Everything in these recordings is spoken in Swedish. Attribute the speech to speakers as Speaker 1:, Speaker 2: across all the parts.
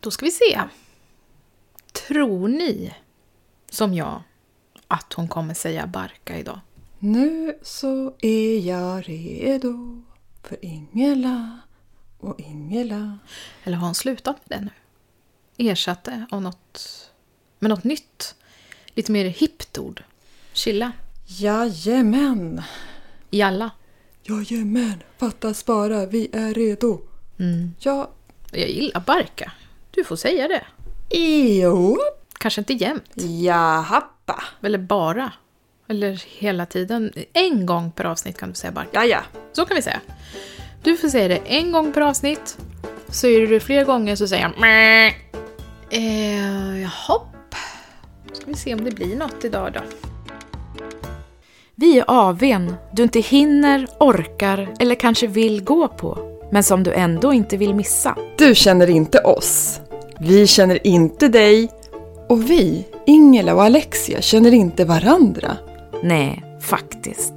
Speaker 1: Då ska vi se. Tror ni, som jag, att hon kommer säga barka idag?
Speaker 2: Nu så är jag redo för Ingela och Ingela.
Speaker 1: Eller har hon slutat med det nu? Ersatt det av något, med något nytt? Lite mer hippt ord? Chilla?
Speaker 2: Jajamän!
Speaker 1: Jalla?
Speaker 2: Jajamän! Fattas bara, vi är redo! Ja,
Speaker 1: Jag gillar barka. Du får säga det.
Speaker 2: jo,
Speaker 1: Kanske inte jämt.
Speaker 2: jahappa,
Speaker 1: Eller bara. Eller hela tiden. En gång per avsnitt kan du säga barka.
Speaker 2: jaja.
Speaker 1: Så kan vi säga. Du får säga det en gång per avsnitt. Säger du det fler gånger så säger jag Mäh. eh, Jaha. Ska vi se om det blir något idag då.
Speaker 3: Vi är AWn du inte hinner, orkar eller kanske vill gå på, men som du ändå inte vill missa.
Speaker 2: Du känner inte oss. Vi känner inte dig. Och vi, Ingela och Alexia, känner inte varandra.
Speaker 3: Nej, faktiskt.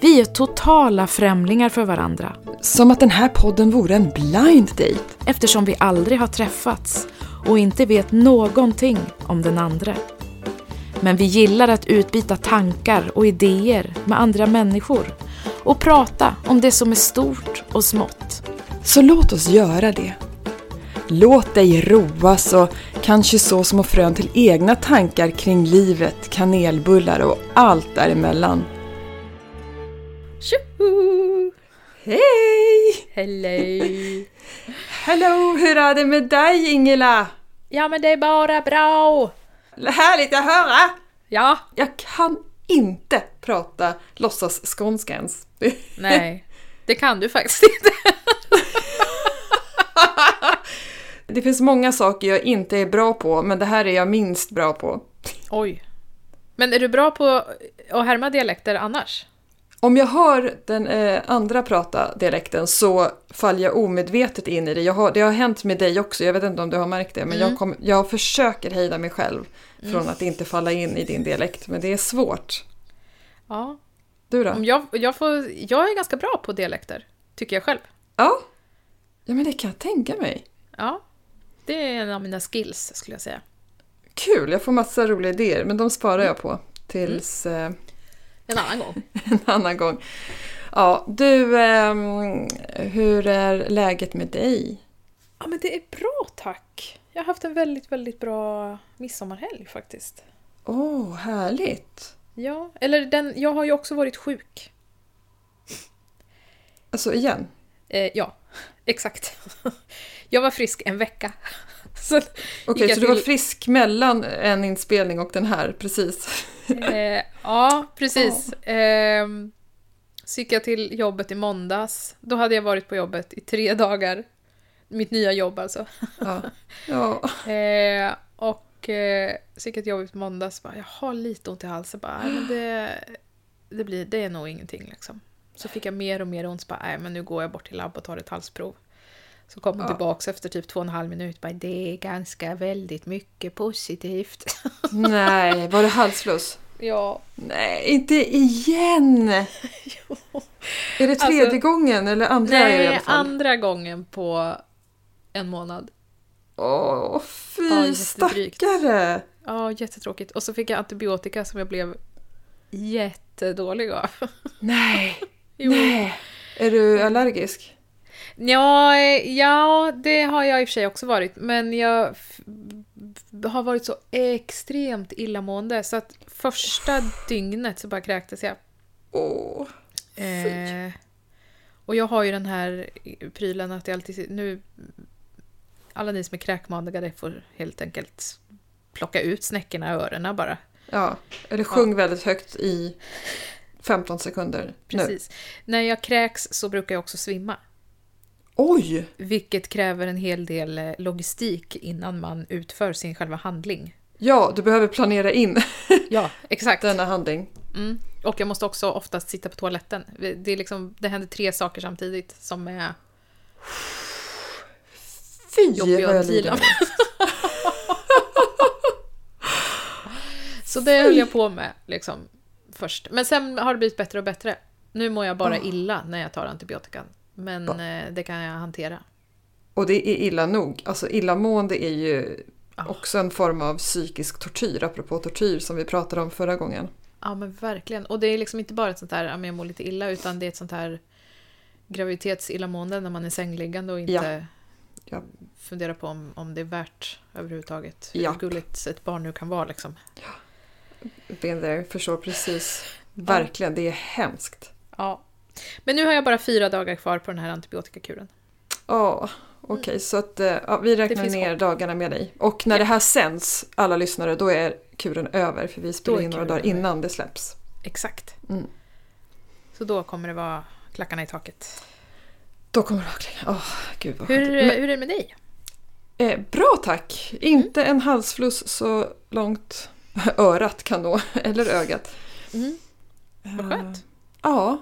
Speaker 3: Vi är totala främlingar för varandra,
Speaker 2: Som att den här podden vore en blind date.
Speaker 3: eftersom vi aldrig har träffats och inte vet någonting om den andra. Men vi gillar att utbyta tankar och idéer med andra människor och prata om det som är stort och smått.
Speaker 2: Så låt oss göra det. Låt dig roas och kanske så små frön till egna tankar kring livet, kanelbullar och allt däremellan.
Speaker 1: Tjoho!
Speaker 2: Hej!
Speaker 1: Hello!
Speaker 2: Hello! Hur är det med dig Ingela?
Speaker 1: Ja men det är bara bra!
Speaker 2: Härligt att höra!
Speaker 1: Ja.
Speaker 2: Jag kan inte prata låtsas skånska ens.
Speaker 1: Nej. Det kan du faktiskt inte.
Speaker 2: Det finns många saker jag inte är bra på, men det här är jag minst bra på.
Speaker 1: Oj. Men är du bra på att härma dialekter annars?
Speaker 2: Om jag hör den eh, andra prata dialekten så faller jag omedvetet in i det. Jag har, det har hänt med dig också, jag vet inte om du har märkt det, men jag, kom, jag försöker hejda mig själv från att inte falla in i din dialekt, men det är svårt.
Speaker 1: Ja.
Speaker 2: Du då?
Speaker 1: Om jag, jag, får, jag är ganska bra på dialekter, tycker jag själv.
Speaker 2: Ja. ja, men det kan jag tänka mig.
Speaker 1: Ja. Det är en av mina skills skulle jag säga.
Speaker 2: Kul, jag får massa roliga idéer, men de sparar jag på tills eh,
Speaker 1: En annan gång.
Speaker 2: en annan gång. Ja, du, ehm, hur är läget med dig?
Speaker 1: Ja, men det är bra tack. Jag har haft en väldigt, väldigt bra midsommarhelg faktiskt.
Speaker 2: Åh, oh, härligt!
Speaker 1: Ja, eller den, jag har ju också varit sjuk.
Speaker 2: Alltså igen,
Speaker 1: Eh, ja, exakt. Jag var frisk en vecka. Så
Speaker 2: Okej,
Speaker 1: gick jag
Speaker 2: så du var
Speaker 1: till-
Speaker 2: frisk mellan en inspelning och den här, precis.
Speaker 1: Eh, ja, precis. Ehm, så gick jag till jobbet i måndags. Då hade jag varit på jobbet i tre dagar. Mitt nya jobb alltså.
Speaker 2: Ja. Ja.
Speaker 1: Eh, och eh, så gick jag till jobbet på måndags bara, jag har lite ont i halsen. Bara, "Nej, men det, det, blir, det är nog ingenting liksom. Så fick jag mer och mer ont. Så bara, "Nej, men nu går jag bort till labb och tar ett halsprov. Så kom hon
Speaker 2: Ja.
Speaker 1: tillbaks efter typ två och en halv minut. Bara, det är ganska väldigt mycket positivt.
Speaker 2: Nej, var det halsfluss?
Speaker 1: ja,
Speaker 2: Nej, inte igen! Är det tredje
Speaker 1: Alltså,
Speaker 2: gången eller andra är det i alla
Speaker 1: Nej,
Speaker 2: fall?
Speaker 1: andra gången på en månad.
Speaker 2: Åh, fy
Speaker 1: Ja, jättedrygt.
Speaker 2: stackare!
Speaker 1: Ja, jättetråkigt. Och så fick jag antibiotika som jag blev jättedålig av.
Speaker 2: Nej,
Speaker 1: Jo.
Speaker 2: nej! Är du allergisk?
Speaker 1: Ja, eh, ja, det har jag i och för sig också varit. Men jag f- b- har varit så extremt illamående så att första dygnet så bara kräktes jag.
Speaker 2: Åh,
Speaker 1: Eh, och jag har ju den här prylen att jag alltid... Nu, alla ni som är kräkmanigare får helt enkelt plocka ut snäckorna i öronen bara.
Speaker 2: Ja, eller sjung väldigt högt i 15 sekunder nu.
Speaker 1: Precis. När jag kräks så brukar jag också svimma.
Speaker 2: Oj!
Speaker 1: Vilket kräver en hel del eh, logistik innan man utför sin själva handling.
Speaker 2: Ja, du behöver planera in
Speaker 1: Ja, exakt.
Speaker 2: denna handling.
Speaker 1: Mm. Och jag måste också oftast sitta på toaletten. Det, är liksom, det händer tre saker samtidigt som är
Speaker 2: Fy
Speaker 1: jobbiga
Speaker 2: vad jag
Speaker 1: under
Speaker 2: lider.
Speaker 1: tiden. Så det höll jag på med liksom, först. Men sen har det blivit bättre och bättre. Nu mår jag bara illa när jag tar antibiotikan. Men eh, det kan jag hantera.
Speaker 2: Och det är illa nog. Alltså illamående är ju
Speaker 1: Ja.
Speaker 2: också en form av psykisk tortyr, apropå tortyr som vi pratade om förra gången.
Speaker 1: Ja men verkligen. Och det är liksom inte bara ett sånt här att jag mår lite illa utan det är ett sånt här graviditetsillamående när man är sängliggande och inte
Speaker 2: Ja.
Speaker 1: funderar på om, om det är värt överhuvudtaget.
Speaker 2: Ja.
Speaker 1: Hur gulligt ett barn nu kan vara liksom.
Speaker 2: Been there, förstår precis. Verkligen, det är hemskt.
Speaker 1: Ja. Men nu har jag bara fyra dagar kvar på den här antibiotikakuren.
Speaker 2: Ja, okej, så att eh, ja, vi räknar
Speaker 1: Mm. finns
Speaker 2: ner dagarna med dig. Och när det här sänds, alla lyssnare, då är kuren över för vi spelar
Speaker 1: är
Speaker 2: in några
Speaker 1: kuren
Speaker 2: dagar
Speaker 1: över.
Speaker 2: innan det släpps.
Speaker 1: Exakt.
Speaker 2: Mm.
Speaker 1: Så då kommer det vara klackarna i taket.
Speaker 2: Då kommer det verkligen... Åh, gud vad
Speaker 1: Hur,
Speaker 2: skönt. Men-
Speaker 1: hur är det med dig?
Speaker 2: Eh, bra tack! Inte
Speaker 1: Mm.
Speaker 2: en halsfluss så långt örat kan nå, eller ögat.
Speaker 1: Mm. Vad
Speaker 2: Eh,
Speaker 1: skönt.
Speaker 2: Ja,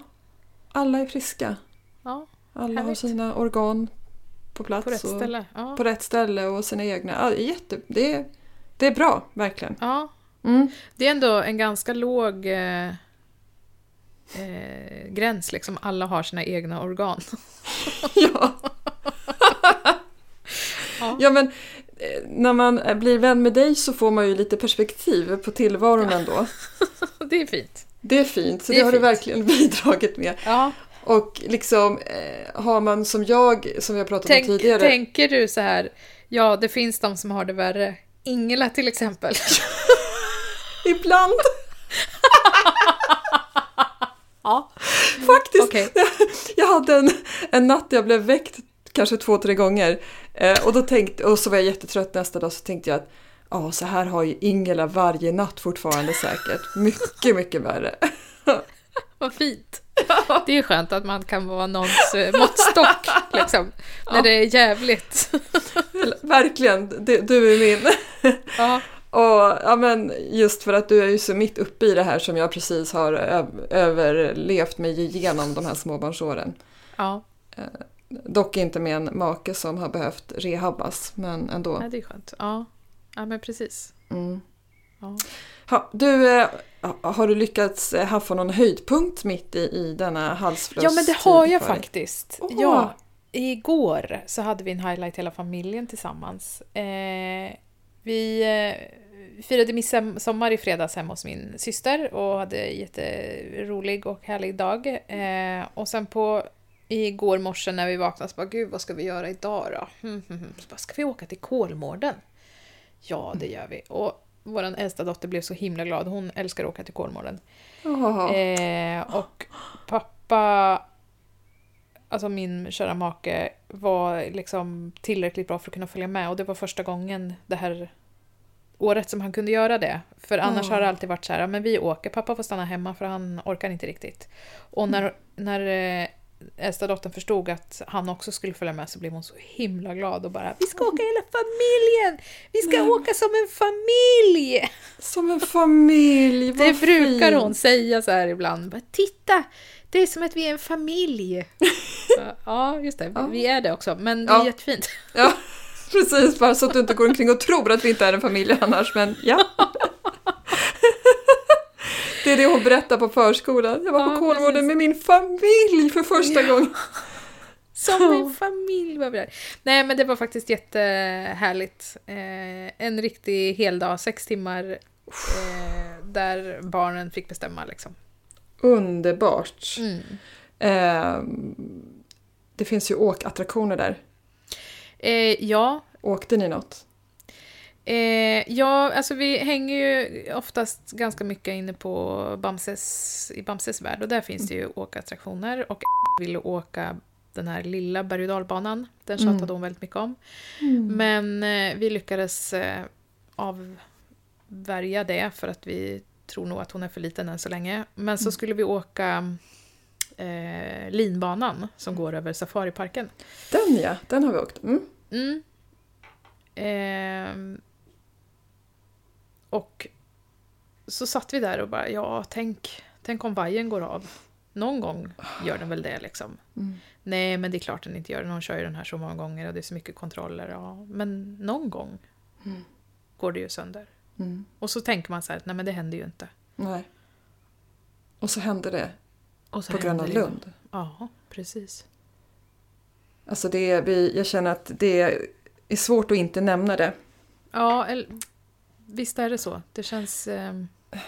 Speaker 2: alla är friska.
Speaker 1: Ja,
Speaker 2: Alla har
Speaker 1: Härligt.
Speaker 2: sina organ på plats.
Speaker 1: på rätt
Speaker 2: och,
Speaker 1: ställe. Ja.
Speaker 2: Alltså- på rätt ställe och sina egna. Ja, det är jätte, det, är, det är bra, verkligen.
Speaker 1: ja.
Speaker 2: Mm.
Speaker 1: Det är ändå en ganska låg eh, eh, gräns, liksom. Alla har sina egna organ.
Speaker 2: Ja.
Speaker 1: Ja.
Speaker 2: ja, men eh, när man eh, blir vän med dig så får man ju lite perspektiv på tillvaron ändå.
Speaker 1: Det är fint.
Speaker 2: Det är fint, så
Speaker 1: Det
Speaker 2: det,
Speaker 1: är
Speaker 2: har
Speaker 1: fint.
Speaker 2: du verkligen bidragit med.
Speaker 1: Ja.
Speaker 2: Och liksom eh, har man som jag, som vi har pratat
Speaker 1: Tänk,
Speaker 2: om tidigare.
Speaker 1: tänker du så här, ja, det finns de som har det värre. Ingela till exempel.
Speaker 2: Ibland.
Speaker 1: Ja.
Speaker 2: Faktiskt.
Speaker 1: Okej.
Speaker 2: Jag hade en, en natt där jag blev väckt kanske två, tre gånger. Eh, och, då tänkte, och så var jag jättetrött nästa dag så tänkte jag att ja, så här har ju Ingela varje natt fortfarande säkert. Mycket, mycket värre.
Speaker 1: Vad fint. Det är skönt att man kan vara någons eh, måttstock, liksom. När det är jävligt.
Speaker 2: Verkligen, du, du är min.
Speaker 1: Ja.
Speaker 2: Och ja, men just för att du är ju så mitt uppe i det här som jag precis har ö- överlevt mig igenom de här småbarnsåren.
Speaker 1: Ja,
Speaker 2: Dock inte med en make som har behövt rehabbas, men ändå.
Speaker 1: nej, det är skönt. Ja, ja men precis.
Speaker 2: Mm.
Speaker 1: Ja.
Speaker 2: Ha, du, eh, har du lyckats eh, haffa någon höjdpunkt mitt i, i denna halsfluss? typ
Speaker 1: Ja, men det har jag faktiskt.
Speaker 2: Åh.
Speaker 1: Ja, igår så hade vi en highlight hela familjen tillsammans. Eh, vi eh, firade midsommar i fredags hemma hos min syster och hade en jätterolig och härlig dag. Eh, och sen på igår morse när vi vaknade så bara, gud vad ska vi göra idag då? Hmm, hmm, hmm. Så bara, ska vi åka till Kolmården? Ja, det gör vi. Och vår äldsta dotter blev så himla glad. Hon älskar att åka till Kolmården.
Speaker 2: Ja.
Speaker 1: Eh, och pappa, alltså min kära make, var liksom tillräckligt bra för att kunna följa med. Och det var första gången det här året som han kunde göra det. För annars
Speaker 2: Ja.
Speaker 1: har det alltid varit så här, "Ja, men vi åker, pappa får stanna hemma för han orkar inte riktigt. Och när, när eh, äldsta dottern förstod att han också skulle följa med så blev hon så himla glad och bara Vi ska åka hela familjen! Vi ska åka som en familj!
Speaker 2: Som en familj, vad
Speaker 1: Det brukar
Speaker 2: fint.
Speaker 1: hon säga så här ibland. Bara, Titta! Det är som att vi är en familj. Så, ja, just det.
Speaker 2: Ja.
Speaker 1: Vi är det också. Men det är
Speaker 2: Ja.
Speaker 1: jättefint.
Speaker 2: Ja, precis, bara så att du inte går omkring och tror att vi inte är en familj annars, men ja. Det är det hon berättar på förskolan. Jag var
Speaker 1: Ja,
Speaker 2: på Kolmården
Speaker 1: precis.
Speaker 2: med min familj för första gången.
Speaker 1: Som en familj var vi där. Nej, men det var faktiskt jättehärligt. Eh, en riktig heldag, sex timmar. Eh, där barnen fick bestämma liksom.
Speaker 2: Underbart.
Speaker 1: Mm.
Speaker 2: Ehm, det finns ju åkattraktioner där.
Speaker 1: Eh, ja,
Speaker 2: Åkte ni något?
Speaker 1: Eh, ja, alltså vi hänger ju oftast ganska mycket inne på Bamses, i Bamses värld och där finns det ju åkattraktioner och ville åka den här lilla berg och dalbanan. Den tjatade
Speaker 2: Mm.
Speaker 1: hon väldigt mycket om.
Speaker 2: Mm.
Speaker 1: Men eh, vi lyckades eh, avvärja det för att vi tror nog att hon är för liten än så länge. Men
Speaker 2: Mm.
Speaker 1: så skulle vi åka eh, linbanan som går över safariparken.
Speaker 2: Den ja, den har vi åkt. Mm.
Speaker 1: Mm. Ehm. och så satt vi där och bara, ja tänk, tänk om vajern går av. Någon gång gör den väl det liksom. Nej men det är klart den inte gör det, hon kör ju den här så många gånger och det är så mycket kontroller. Ja. Men någon gång Mm. går det ju sönder.
Speaker 2: Mm.
Speaker 1: Och så tänker man så här, nej men det händer ju inte.
Speaker 2: Nej. Och så hände det
Speaker 1: Och så
Speaker 2: på
Speaker 1: händer
Speaker 2: Gröna
Speaker 1: det ju.
Speaker 2: Lund.
Speaker 1: Ja, precis.
Speaker 2: Alltså det, är- vi- jag känner att det är svårt att inte nämna det.
Speaker 1: Ja, eller, visst är det så. Det känns... ehm,
Speaker 2: Det är
Speaker 1: alltså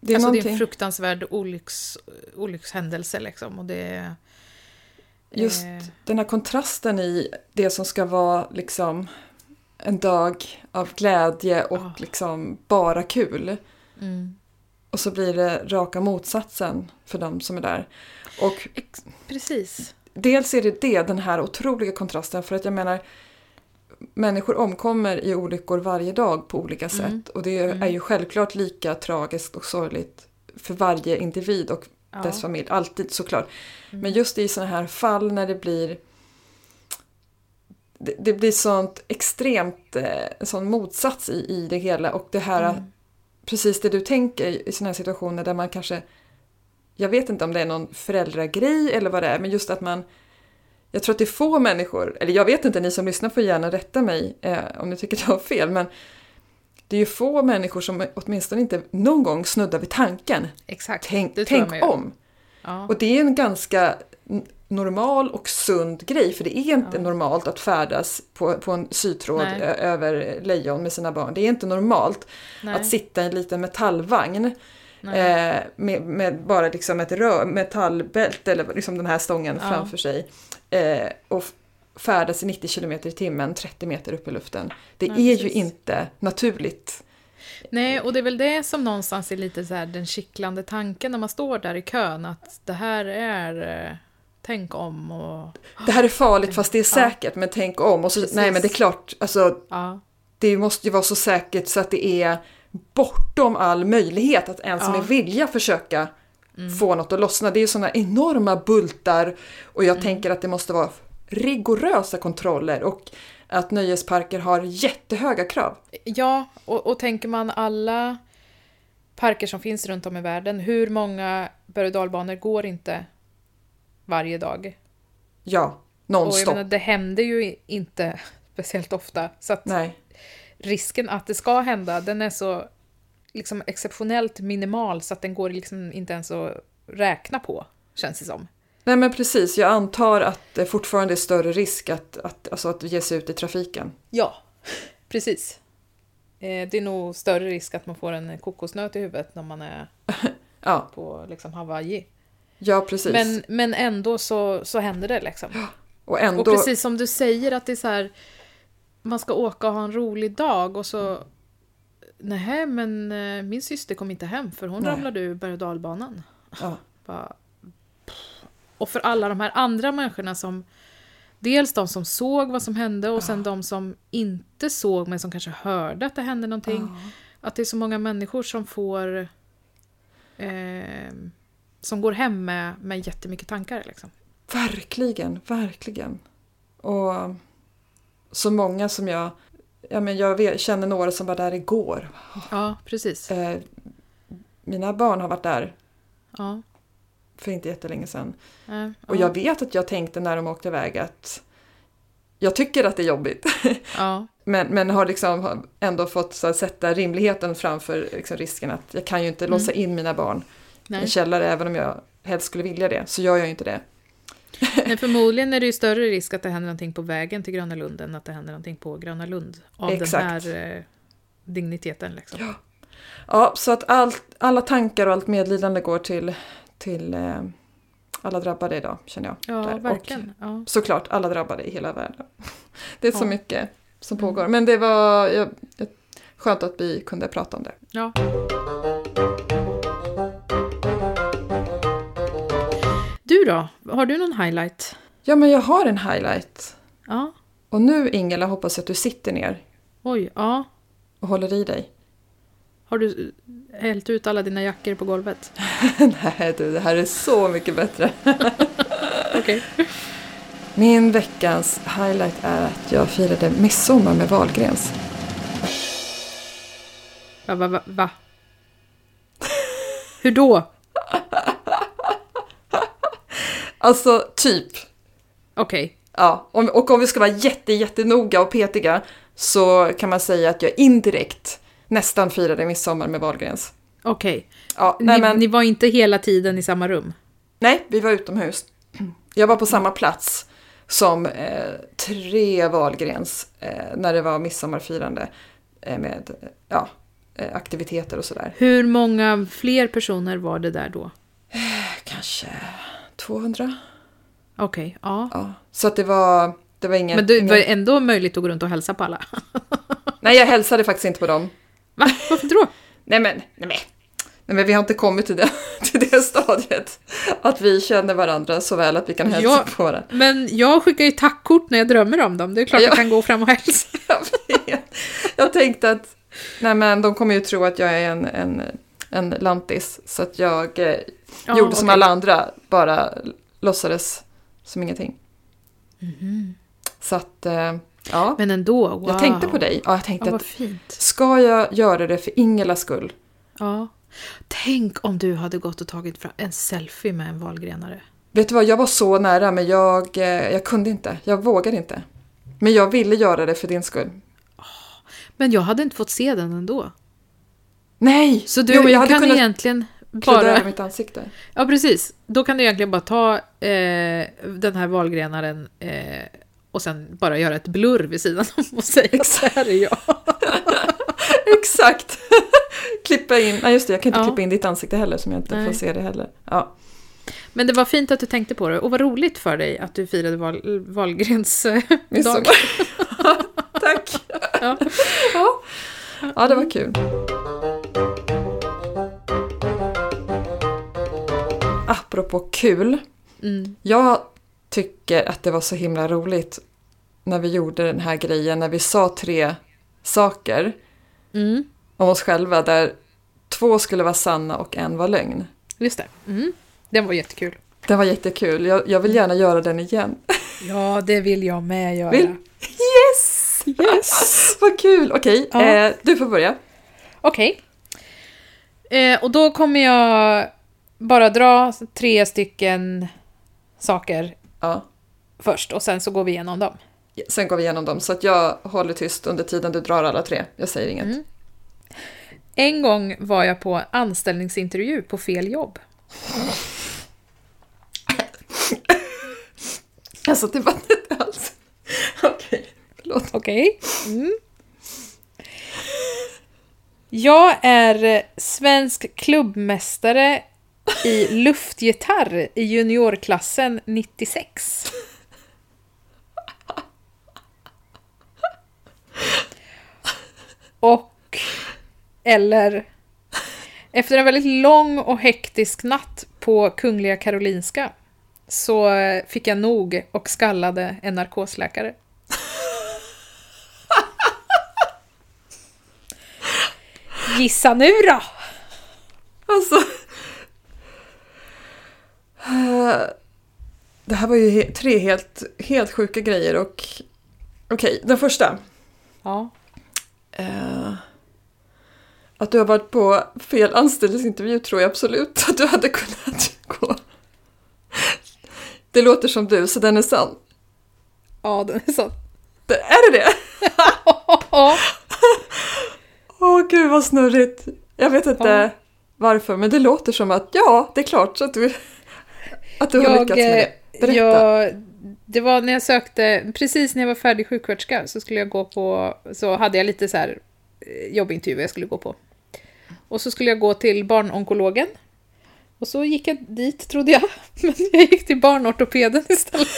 Speaker 1: det är
Speaker 2: någonting,
Speaker 1: en fruktansvärd olycks, olyckshändelse liksom. Och det,
Speaker 2: just
Speaker 1: eh,
Speaker 2: den här kontrasten i det som ska vara liksom en dag av glädje och
Speaker 1: Ja.
Speaker 2: liksom bara kul.
Speaker 1: mm.
Speaker 2: Och så blir det raka motsatsen för de som är där. Och
Speaker 1: Ex- Precis.
Speaker 2: dels är det det, den här otroliga kontrasten, för att jag menar människor omkommer i olyckor varje dag på olika sätt
Speaker 1: Mm.
Speaker 2: och det är ju självklart lika tragiskt och sorgligt för varje individ och
Speaker 1: Ja. Mm.
Speaker 2: dess familj, alltid såklart. Men just i sådana här fall när det blir det, det blir sånt extremt, eh, en sån motsats i, i det hela och det här
Speaker 1: Mm.
Speaker 2: precis det du tänker i sådana här situationer där man kanske, jag vet inte om det är någon föräldragrej eller vad det är, men just att man, jag tror att det är få människor, eller jag vet inte, ni som lyssnar får gärna rätta mig eh, om ni tycker att jag har fel, men det är ju få människor som åtminstone inte någon gång snuddar vid tanken,
Speaker 1: Exakt.
Speaker 2: tänk,
Speaker 1: det tror jag
Speaker 2: tänk
Speaker 1: man gör.
Speaker 2: om.
Speaker 1: Ja.
Speaker 2: Och det är en ganska n- normal och sund grej, för det är inte
Speaker 1: Ja.
Speaker 2: normalt att färdas på, på en sytråd
Speaker 1: Nej.
Speaker 2: ö- över lejon med sina barn. Det är inte normalt
Speaker 1: Nej.
Speaker 2: att sitta i en liten metallvagn
Speaker 1: Nej.
Speaker 2: eh, med, med bara liksom ett rör, metallbälte eller liksom den här stången
Speaker 1: Ja.
Speaker 2: framför sig eh, och f- färdas i 90 km i timmen 30 meter upp i luften. Det
Speaker 1: Nej,
Speaker 2: är ju
Speaker 1: precis.
Speaker 2: inte naturligt.
Speaker 1: Nej, och det är väl det som någonstans är lite så här den kittlande tanken när man står där i kön att det här är eh, tänk om och
Speaker 2: Det här är farligt fast det är säkert, men tänk om. Och så,
Speaker 1: Precis.
Speaker 2: nej men det är klart, alltså,
Speaker 1: ja,
Speaker 2: det måste ju vara så säkert så att det är bortom all möjlighet att ens
Speaker 1: Ja. Mm.
Speaker 2: med vilja försöka få något att lossna. Det är ju sådana enorma bultar och jag
Speaker 1: Mm.
Speaker 2: tänker att det måste vara rigorösa kontroller och att nöjesparker har jättehöga krav.
Speaker 1: ja och, och tänker man alla parker som finns runt om i världen, hur många berg och dalbanor går inte varje dag?
Speaker 2: Ja,
Speaker 1: Och jag
Speaker 2: nonstop.
Speaker 1: menar, det händer ju i- inte speciellt ofta så att
Speaker 2: Nej,
Speaker 1: risken att det ska hända, den är så liksom exceptionellt minimal så att den går liksom inte ens att räkna på, känns det som.
Speaker 2: Nej men precis, jag antar att det fortfarande är större risk att, att, alltså att ge sig ut i trafiken.
Speaker 1: Ja, precis. Eh, Det är nog större risk att man får en kokosnöt i huvudet när man är
Speaker 2: Ja,
Speaker 1: på liksom Hawaii.
Speaker 2: ja precis.
Speaker 1: Men, men ändå så, så händer det liksom.
Speaker 2: och ändå...
Speaker 1: Och precis som du säger att det är så här, man ska åka och ha en rolig dag och så Nej, men eh, min syster kom inte hem för hon
Speaker 2: Nej.
Speaker 1: ramlade ur berg och dalbanan.
Speaker 2: Ja.
Speaker 1: Bara, pff. och för alla de här andra människorna som Dels de som såg vad som hände och sen de som inte såg men som kanske hörde att det hände någonting.
Speaker 2: Ah.
Speaker 1: Att det är så många människor som får eh, Som går hem med, med jättemycket tankar liksom.
Speaker 2: Verkligen, verkligen. Och så många som jag... Ja, men jag vet, känner några som var där igår.
Speaker 1: Ja, precis.
Speaker 2: Eh, mina barn har varit där
Speaker 1: Ja,
Speaker 2: för inte jättelänge sedan.
Speaker 1: eh,
Speaker 2: Och
Speaker 1: ja,
Speaker 2: jag vet att jag tänkte när de åkte iväg att jag tycker att det är jobbigt.
Speaker 1: ja,
Speaker 2: Men, men har liksom ändå fått så här, sätta rimligheten framför liksom, risken att jag kan ju inte låsa in mina barn i en
Speaker 1: Mm. nej.
Speaker 2: källare även om jag helst skulle vilja det. Så gör jag ju inte det.
Speaker 1: nej, förmodligen är det ju större risk att det händer någonting på vägen till Gröna Lund än att det händer någonting på Gröna Lund. Av
Speaker 2: Exakt.
Speaker 1: den här eh, digniteten liksom. Ja.
Speaker 2: Ja, så att allt, alla tankar och allt medlidande går till, till eh, alla drabbade idag, känner jag. Där.
Speaker 1: verkligen. Ja.
Speaker 2: Och såklart alla drabbade i hela världen. Det är så
Speaker 1: Ja.
Speaker 2: mycket som pågår. Men det var jag, jag, skönt att vi kunde prata om det.
Speaker 1: Ja. Du då? Har du någon highlight?
Speaker 2: Ja, men jag har en highlight.
Speaker 1: Ja.
Speaker 2: Och nu, Ingela, hoppas jag att du sitter ner
Speaker 1: Oj, ja.
Speaker 2: och håller i dig.
Speaker 1: Har du eh, hällt ut alla dina jackor på golvet?
Speaker 2: Nej, du, det här är så mycket bättre.
Speaker 1: Okej.
Speaker 2: Min veckans highlight är att jag firade midsommar med Wahlgrens.
Speaker 1: Va, va, va, va? Hur då?
Speaker 2: Alltså, typ.
Speaker 1: Okej.
Speaker 2: Ja, om- och om vi ska vara jätte, jättenoga och petiga så kan man säga att jag indirekt nästan firade midsommar med Wahlgrens.
Speaker 1: Okej.
Speaker 2: Ja, nej,
Speaker 1: Ni,
Speaker 2: men,
Speaker 1: ni var inte hela tiden i samma rum? Mm.
Speaker 2: nej, vi var utomhus. Jag var på samma plats som eh, tre Wahlgrens eh, när det var midsommarfirande eh, med eh, ja, eh, aktiviteter och sådär.
Speaker 1: Hur många fler personer var det där då?
Speaker 2: Kanske 200?
Speaker 1: Okej, ja.
Speaker 2: Ja. Så att det var, det var ingen...
Speaker 1: Men du,
Speaker 2: ingen...
Speaker 1: var det ändå möjligt att gå runt och hälsa på alla?
Speaker 2: Nej, jag hälsade faktiskt inte på dem.
Speaker 1: Va? Varför då?
Speaker 2: Nej men, nej men. Nej men vi har inte kommit till det, till det stadiet. Att vi känner varandra så väl att vi kan hälsa
Speaker 1: Ja.
Speaker 2: på varandra.
Speaker 1: Men jag skickar ju tackkort när jag drömmer om dem. Det är klart
Speaker 2: Ja.
Speaker 1: jag kan gå fram och hälsa.
Speaker 2: Jag vet. Jag tänkte att, nej men de kommer ju tro att jag är en, en, en lantis. Så att jag eh,
Speaker 1: Ja,
Speaker 2: gjorde som
Speaker 1: okej.
Speaker 2: alla andra, bara låtsades som ingenting. Så att, eh, ja.
Speaker 1: Mhm. Men ändå, wow.
Speaker 2: Jag tänkte på dig. Ja, jag
Speaker 1: Ja,
Speaker 2: tänkte
Speaker 1: vad
Speaker 2: att,
Speaker 1: fint.
Speaker 2: ska jag göra det för Ingelas skull?
Speaker 1: Ja. Tänk om du hade gått och tagit fram en selfie med en valgrenare.
Speaker 2: Vet du vad, jag var så nära men jag, eh, jag kunde inte. Jag vågade inte. Men jag ville göra det för din skull.
Speaker 1: Men jag hade inte fått se den ändå.
Speaker 2: Nej!
Speaker 1: Så du
Speaker 2: jo, men jag hade
Speaker 1: kan
Speaker 2: kunnat
Speaker 1: egentligen
Speaker 2: kludda
Speaker 1: bara...
Speaker 2: över mitt ansikte.
Speaker 1: Ja, precis. Då kan du egentligen bara ta eh, den här valgrenaren eh, och sen bara göra ett blurr vid sidan om och säga att det här är jag.
Speaker 2: Exakt! klippa in, nej just det, jag kan inte
Speaker 1: Ja.
Speaker 2: klippa in ditt ansikte heller som jag inte
Speaker 1: Nej.
Speaker 2: får se det heller. Ja.
Speaker 1: Men det var fint att du tänkte på det och vad roligt för dig att du firade val, Valgrens eh, dag.
Speaker 2: Midsommar. Tack!
Speaker 1: Ja.
Speaker 2: Ja. ja, det var kul. Apropå kul.
Speaker 1: Mm.
Speaker 2: Jag tycker att det var så himla roligt när vi gjorde den här grejen, när vi sa tre saker
Speaker 1: Mm.
Speaker 2: om oss själva där två skulle vara sanna och en var lögn.
Speaker 1: Just det. Mm. Den var jättekul.
Speaker 2: Det var jättekul, jag, jag vill gärna göra den igen.
Speaker 1: Ja, det vill jag med göra.
Speaker 2: Vill- Yes! Yes! Vad kul! Okej,
Speaker 1: Ja.
Speaker 2: eh, du får börja.
Speaker 1: Okej. Eh, och då kommer jag bara dra tre stycken saker
Speaker 2: Ja.
Speaker 1: först och sen så går vi igenom dem.
Speaker 2: Sen går vi igenom dem, så att jag håller tyst under tiden du drar alla tre. Jag säger inget.
Speaker 1: Mm. En gång var jag på anställningsintervju på fel jobb.
Speaker 2: Alltså, det var inte alls... Okej. Förlåt.
Speaker 1: Okej. Mm. Jag är eh, svensk klubbmästare i luftgitarr i juniorklassen 96. Och, eller, efter en väldigt lång och hektisk natt på Kungliga Karolinska så eh, fick jag nog och skallade en narkosläkare. Gissa nu då!
Speaker 2: Alltså... Eh, Det här var ju he- tre helt, helt sjuka grejer och... Okej, den första.
Speaker 1: Ja.
Speaker 2: Eh, Att du har varit på fel anställningsintervju tror jag absolut att du hade kunnat gå. Det låter som du, så den är sann.
Speaker 1: Ja, den är sån.
Speaker 2: Det- Är det det? Åh gud vad snurrigt. Jag vet inte
Speaker 1: Ja.
Speaker 2: varför men det låter som att ja, det är klart så att du, att du har lyckats med det. Berätta.
Speaker 1: eh, Jag, det var när jag sökte, precis när jag var färdig sjuksköterska så skulle jag gå på, så hade jag lite så här eh, jobbintervjuer jag skulle gå på. Och så skulle jag gå till barnonkologen. Och så gick jag dit trodde jag, men jag gick till barnortopeden istället.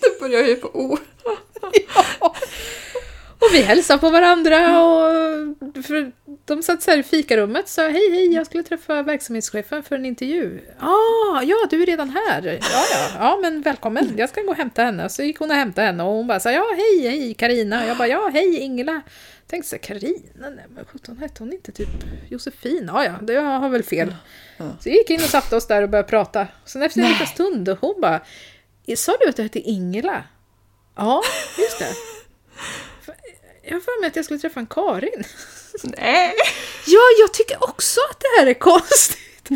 Speaker 2: Det börjar ju på O.
Speaker 1: Och vi hälsade på varandra och för de satt så här i fikarummet och sa hej hej, jag skulle träffa verksamhetschefen för en intervju. Ah, ja, du är redan här. Ja, ja, ja, men välkommen. Jag ska gå och hämta henne. Och Så gick hon och hämtade henne och hon bara sa ja, hej, hej, Karina. Jag bara ja, hej, Ingela. Tänkte så här, Karina, nej men sjutton hette hon inte typ Josefin? Ja, ja, det jag har väl fel. Så vi gick in och satte oss där och började prata. Sen efter en liten stund, och hon bara, sa du att du hette Ingela? Ja, just det. Jag har för mig att jag skulle träffa en Karin.
Speaker 2: Nej.
Speaker 1: Ja, jag tycker också att det här är konstigt.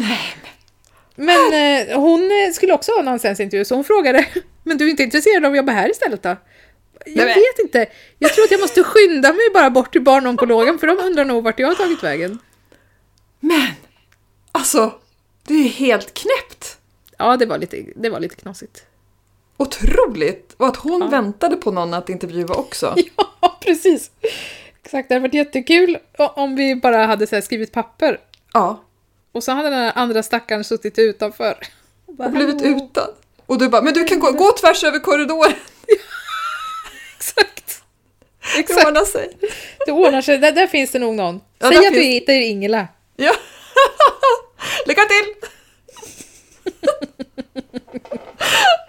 Speaker 1: Men eh, hon eh, skulle också ha en anställningsintervju, så hon frågade Men du är inte intresserad av att jobba här istället då? Jag
Speaker 2: Nej, men-
Speaker 1: vet inte. Jag tror att jag måste skynda mig bara bort till barnonkologen för de undrar nog vart jag har tagit vägen.
Speaker 2: Men alltså, det är ju helt knäppt.
Speaker 1: Ja, det var lite, det var lite knasigt.
Speaker 2: otroligt! Och att hon
Speaker 1: Ja.
Speaker 2: väntade på någon att intervjua också.
Speaker 1: Ja, precis. Exakt, det hade varit jättekul o- om vi bara hade så här, skrivit papper.
Speaker 2: Ja,
Speaker 1: Och så hade den här andra stackaren suttit utanför.
Speaker 2: och blivit utan. Och du bara, men du kan gå, gå tvärs över korridoren
Speaker 1: Exakt.
Speaker 2: och
Speaker 1: Exakt,
Speaker 2: ordna sig.
Speaker 1: det ordnar sig. Där, där finns det nog någon.
Speaker 2: Ja,
Speaker 1: Säg
Speaker 2: där
Speaker 1: att du
Speaker 2: finns-
Speaker 1: hittar Ingela.
Speaker 2: Ja. Lycka till!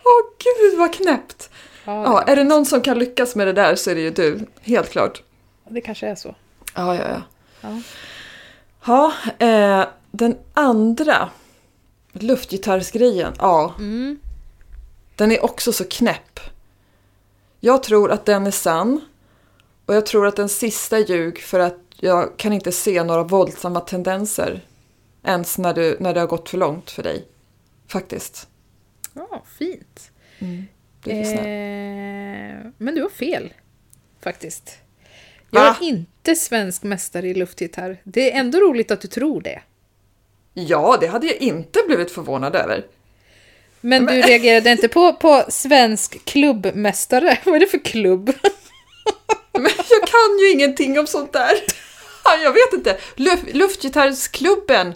Speaker 2: Åh gud vad knäppt!
Speaker 1: Ja,
Speaker 2: Ja, är det någon som kan lyckas med det där så är det ju du, helt klart.
Speaker 1: det, det kanske är så.
Speaker 2: Ja, ja, ja.
Speaker 1: Ja.
Speaker 2: Ja, eh, den andra luftgitarrsgrejen, ja,
Speaker 1: Mm.
Speaker 2: den är också så knäpp. Jag tror att den är sann och jag tror att den sista ljug för att jag kan inte se några våldsamma tendenser ens när, du, när det har gått för långt för dig. Faktiskt.
Speaker 1: Ja, fint.
Speaker 2: Du är snäll.
Speaker 1: Eh, men du har fel, faktiskt.
Speaker 2: Va?
Speaker 1: Jag är inte svensk mästare i luftgitarr. Det är ändå roligt att du tror det.
Speaker 2: Ja, det hade jag inte blivit förvånad över.
Speaker 1: Men du reagerade inte på, på svensk klubbmästare? Vad är det för klubb?
Speaker 2: Men jag kan ju ingenting om sånt där. Jag vet inte. Luf luftgitarrsklubben.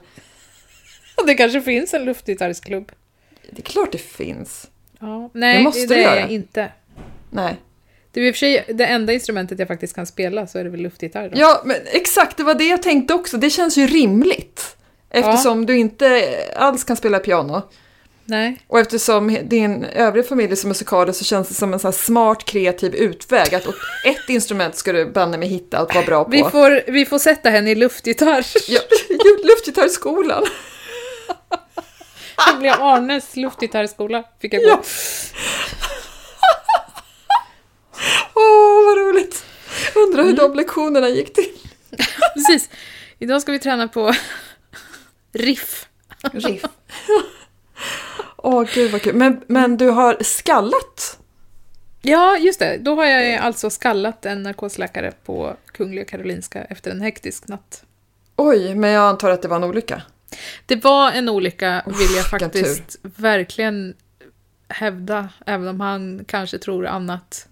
Speaker 1: Det kanske finns en luftgitarrsklubb?
Speaker 2: Det är klart det finns.
Speaker 1: Ja. Nej,
Speaker 2: Det måste
Speaker 1: det
Speaker 2: det
Speaker 1: är
Speaker 2: göra.
Speaker 1: jag inte.
Speaker 2: Nej.
Speaker 1: Det är i och för sig det enda instrumentet jag faktiskt kan spela så är det väl luftgitarr då.
Speaker 2: Ja, men exakt, det var det jag tänkte också. Det känns ju rimligt. Eftersom du inte alls kan spela piano.
Speaker 1: Nej.
Speaker 2: Och eftersom din övriga familj är så musikaler så känns det som en sån här smart, kreativ utväg. Att åt ett instrument ska du banne mig hitta och vara bra på.
Speaker 1: Vi får, vi får sätta henne i luftgitarr.
Speaker 2: ja, luftgitarrskolan.
Speaker 1: Det blev Arnes luftgitarrskola. Fick jag gå.
Speaker 2: Ja. Åh, vad roligt! Mm. Undrar hur de lektionerna gick till.
Speaker 1: Precis. Idag ska vi träna på riff.
Speaker 2: Riff. Åh, gud vad kul. Men, men du har skallat.
Speaker 1: Ja, just det. Då har jag alltså skallat en narkosläkare på Kungliga Karolinska efter en hektisk natt.
Speaker 2: Oj, men jag antar att det var en olycka.
Speaker 1: Det var en olycka,
Speaker 2: Uff,
Speaker 1: vill jag
Speaker 2: vilken
Speaker 1: faktiskt verkligen hävda, även om han kanske tror annat.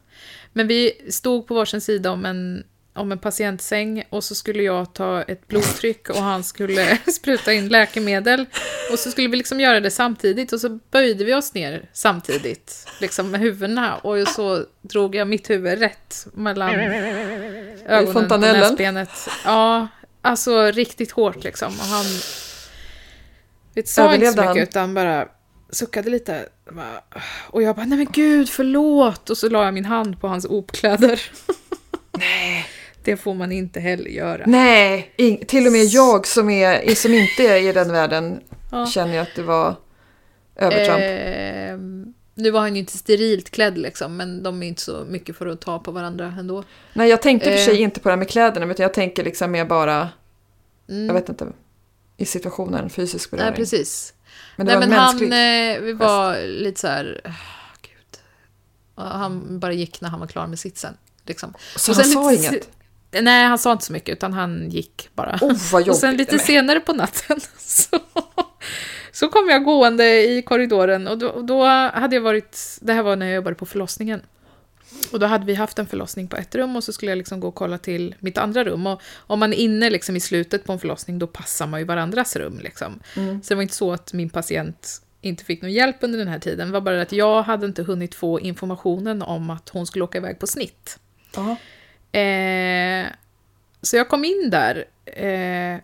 Speaker 1: Men vi stod på varsin sida om en, om en patientsäng och så skulle jag ta ett blodtryck och han skulle spruta in läkemedel. Och så skulle vi liksom göra det samtidigt och så böjde vi oss ner samtidigt, liksom med huvudena. Och så drog jag mitt huvud rätt mellan ögonen och
Speaker 2: fontanellen.
Speaker 1: näsbenet. Ja, alltså riktigt hårt liksom. Och han vet, sa inte så
Speaker 2: Överlevde
Speaker 1: mycket
Speaker 2: han?
Speaker 1: utan bara suckade lite. Bara, Och jag bara, nej men gud, förlåt! Och så la jag min hand på hans opkläder. Nej. Det får man inte heller göra.
Speaker 2: Mm. Nej, ing- till och med jag som, är, som inte är i den världen
Speaker 1: Ja. Eh,
Speaker 2: känner ju att det var övertramp.
Speaker 1: Ehm, nu var han ju inte sterilt klädd liksom, men de är inte så mycket för att ta på varandra ändå.
Speaker 2: Nej, jag tänkte för
Speaker 1: eh.
Speaker 2: sig inte på det här med kläderna, utan jag tänker liksom mer bara, jag
Speaker 1: Mm.
Speaker 2: vet inte, i situationen, fysisk
Speaker 1: Nej,
Speaker 2: beröring.
Speaker 1: precis.
Speaker 2: men det
Speaker 1: Nej,
Speaker 2: var
Speaker 1: men han
Speaker 2: mänskligt.
Speaker 1: eh, vi var lite så här... ah, Gud. Och han bara gick när han var klar med sitsen. Liksom.
Speaker 2: så
Speaker 1: och
Speaker 2: han
Speaker 1: sen
Speaker 2: sa
Speaker 1: lite-
Speaker 2: inget?
Speaker 1: Nej, han sa inte så mycket, utan han gick bara.
Speaker 2: Oh, vad
Speaker 1: Och sen
Speaker 2: jobbigt.
Speaker 1: lite
Speaker 2: Men-
Speaker 1: senare på natten så, så kom jag gående i korridoren och då, och då hade jag varit, det här var när jag jobbade på förlossningen. Och då hade vi haft en förlossning på ett rum och så skulle jag liksom gå och kolla till mitt andra rum. Och om man är inne liksom i slutet på en förlossning då passar man ju varandras rum. Liksom.
Speaker 2: Mm,
Speaker 1: Så det var inte så att min patient inte fick någon hjälp under den här tiden. Det var bara att jag hade inte hunnit få informationen om att hon skulle åka iväg på snitt.
Speaker 2: Ja.
Speaker 1: Eh, så jag kom in där. Eh,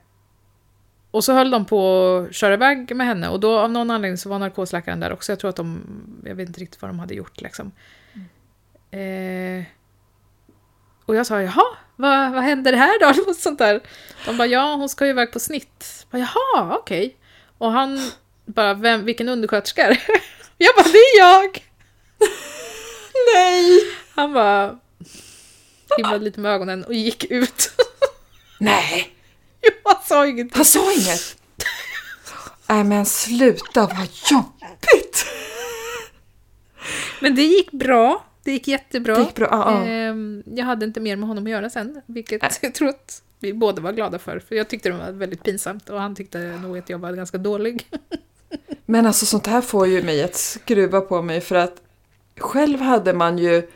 Speaker 1: och så höll de på att köra iväg med henne och då av någon anledning så var narkosläkaren där också. Jag tror att de, jag vet inte riktigt vad de hade gjort liksom. Eh, och jag sa jaha, vad, vad händer här då? Eller något sånt där. De bara ja, hon ska ju iväg på snitt. Jag bara, jaha, okej. Och han bara, Vem, vilken undersköterska är det? Jag bara, det är jag!
Speaker 2: Nej!
Speaker 1: Han bara himlade lite med ögonen och gick ut.
Speaker 2: Nej!
Speaker 1: Jag sa ingenting.
Speaker 2: Han sa inget? Nej men sluta, vad jobbigt!
Speaker 1: Men det gick bra. Det gick jättebra.
Speaker 2: Det gick bra, ja, ja.
Speaker 1: Ehm, Jag hade inte mer med honom att göra sen, vilket jag tror att vi båda var glada för. För jag tyckte det var väldigt pinsamt och han tyckte nog att jag var ganska dålig.
Speaker 2: Men alltså sånt här får ju mig att skruva på mig för att Själv hade man ju,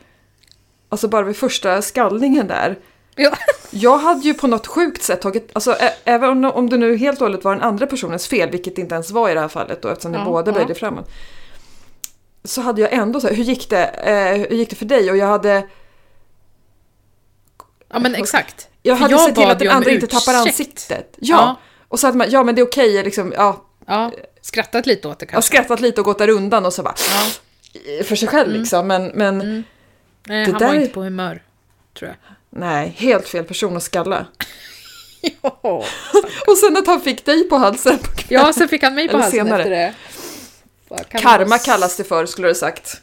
Speaker 2: alltså bara vid första skallningen där,
Speaker 1: Ja.
Speaker 2: jag hade ju på något sjukt sätt tagit, alltså ä- även om, om det nu helt och hållet var den andra personens fel, vilket det inte ens var i det här fallet då eftersom ni
Speaker 1: Ja,
Speaker 2: båda
Speaker 1: ja.
Speaker 2: böjde framåt. Så hade jag ändå så här, hur gick det, eh, hur gick det för dig? Och jag hade,
Speaker 1: ja, men exakt.
Speaker 2: jag
Speaker 1: För
Speaker 2: hade sett till
Speaker 1: bad
Speaker 2: att den
Speaker 1: ju om
Speaker 2: andra inte
Speaker 1: ursäkt.
Speaker 2: tappar ansiktet. Ja.
Speaker 1: Ja.
Speaker 2: Och så hade man, ja men det är okej, liksom, ja,
Speaker 1: Ja, skrattat lite åt det
Speaker 2: jag har
Speaker 1: kanske.
Speaker 2: skrattat lite och gått där undan och så bara,
Speaker 1: Ja.
Speaker 2: för sig själv
Speaker 1: Mm.
Speaker 2: liksom, men, men
Speaker 1: Nej,
Speaker 2: Det
Speaker 1: han
Speaker 2: där
Speaker 1: var
Speaker 2: är-
Speaker 1: inte på humör, tror jag.
Speaker 2: nej, helt fel person att skalla.
Speaker 1: Ja,
Speaker 2: Och sen att han fick dig på halsen.
Speaker 1: ja sen fick han mig på
Speaker 2: Eller
Speaker 1: halsen
Speaker 2: senare.
Speaker 1: efter det. Vad kan
Speaker 2: Karma
Speaker 1: man-
Speaker 2: kallas det för, skulle du ha sagt.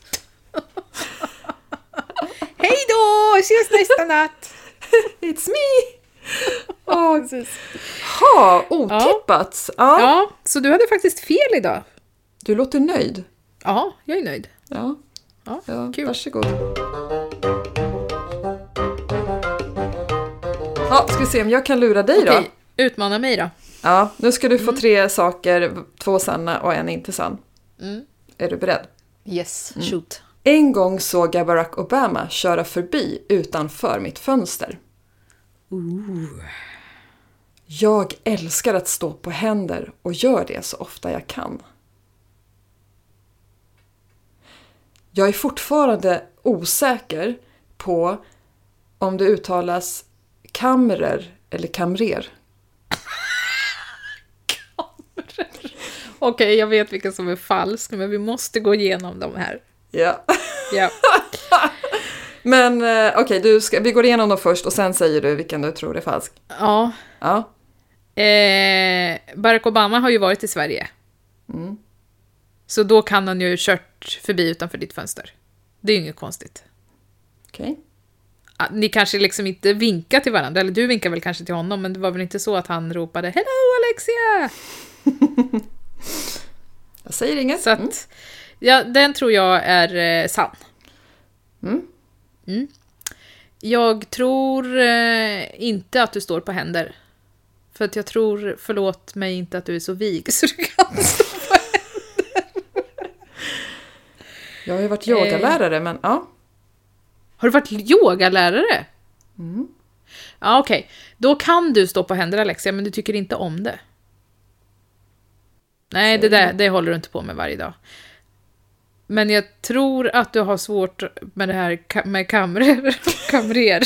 Speaker 1: Hej då! Ses nästa natt!
Speaker 2: It's me! Åh,
Speaker 1: Precis.
Speaker 2: ha, otippat! Ja.
Speaker 1: Ja, så du hade faktiskt fel idag.
Speaker 2: Du låter nöjd.
Speaker 1: Ja, jag är nöjd.
Speaker 2: Ja,
Speaker 1: Ja,
Speaker 2: ja
Speaker 1: kul.
Speaker 2: varsågod. Ja, ska vi se om jag kan lura dig då.
Speaker 1: Okej, Mm. utmana mig då.
Speaker 2: Ja, nu ska du få tre saker, två sanna och en inte sann.
Speaker 1: Mm.
Speaker 2: Är du beredd?
Speaker 1: Yes, shoot.
Speaker 2: En gång såg jag Barack Obama köra förbi utanför mitt fönster. Jag älskar att stå på händer och gör det så ofta jag kan. Jag är fortfarande osäker på om det uttalas kamrer eller kamrer.
Speaker 1: Okej, jag vet vilken som är falsk, men vi måste gå igenom de här.
Speaker 2: Ja.
Speaker 1: Ja.
Speaker 2: Men eh, okej, du ska- vi går igenom dem först och sen säger du vilken du tror är falsk.
Speaker 1: ja.
Speaker 2: Ja.
Speaker 1: Eh, Barack Obama har ju varit i Sverige. Mm. Så då kan han ju kört förbi utanför ditt fönster. Det är ju inget konstigt.
Speaker 2: Okej.
Speaker 1: Ah, Ni kanske liksom inte vinkar till varandra, eller du vinkar väl kanske till honom, men det var väl inte så att han ropade “Hello Alexia!”
Speaker 2: Jag säger inget.
Speaker 1: Så att, ja, den tror jag är eh, sann.
Speaker 2: Mm.
Speaker 1: Mm. Jag tror eh, inte att du står på händer. För att jag tror, förlåt mig inte att du är så vig så du kan stå
Speaker 2: Jag har ju varit
Speaker 1: Eh.
Speaker 2: yogalärare, men ja.
Speaker 1: Har du varit yogalärare?
Speaker 2: Mm.
Speaker 1: Ja, okej. Då kan du stå på händer Alexia, men du tycker inte om det. Nej, det där det håller du inte på med varje dag. Men jag tror att du har svårt med det här ka- med kamrer. kamrer.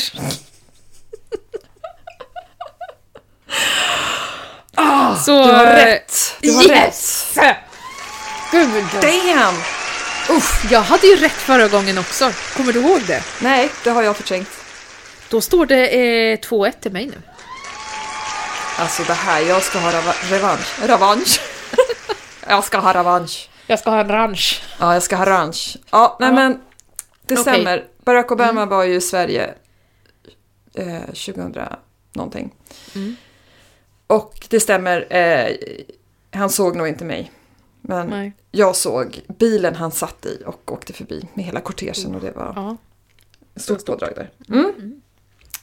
Speaker 1: Så...
Speaker 2: Ah,
Speaker 1: eh,
Speaker 2: Du har rätt! Du har rätt!
Speaker 1: yes! Gud!
Speaker 2: Damn!
Speaker 1: Uff, jag hade ju rätt förra gången också. Kommer du ihåg det?
Speaker 2: Nej, det har jag förträngt.
Speaker 1: Då står det eh, 2-1 till mig nu.
Speaker 2: Alltså det här, jag ska ha rava- revansch. Revansch! jag ska ha revansch.
Speaker 1: Jag ska ha en ranch.
Speaker 2: Ja, jag ska ha revansch. Ja, nej
Speaker 1: Ja.
Speaker 2: men det
Speaker 1: Okej. Mm.
Speaker 2: stämmer. Barack Obama var ju i Sverige eh, 2000 någonting.
Speaker 1: Mm.
Speaker 2: Och det stämmer, eh, han såg nog inte mig. Men
Speaker 1: Nej.
Speaker 2: jag såg bilen han satt i och åkte förbi med hela kortegen och det var...
Speaker 1: Ja.
Speaker 2: Stort pådrag där.
Speaker 1: Mm.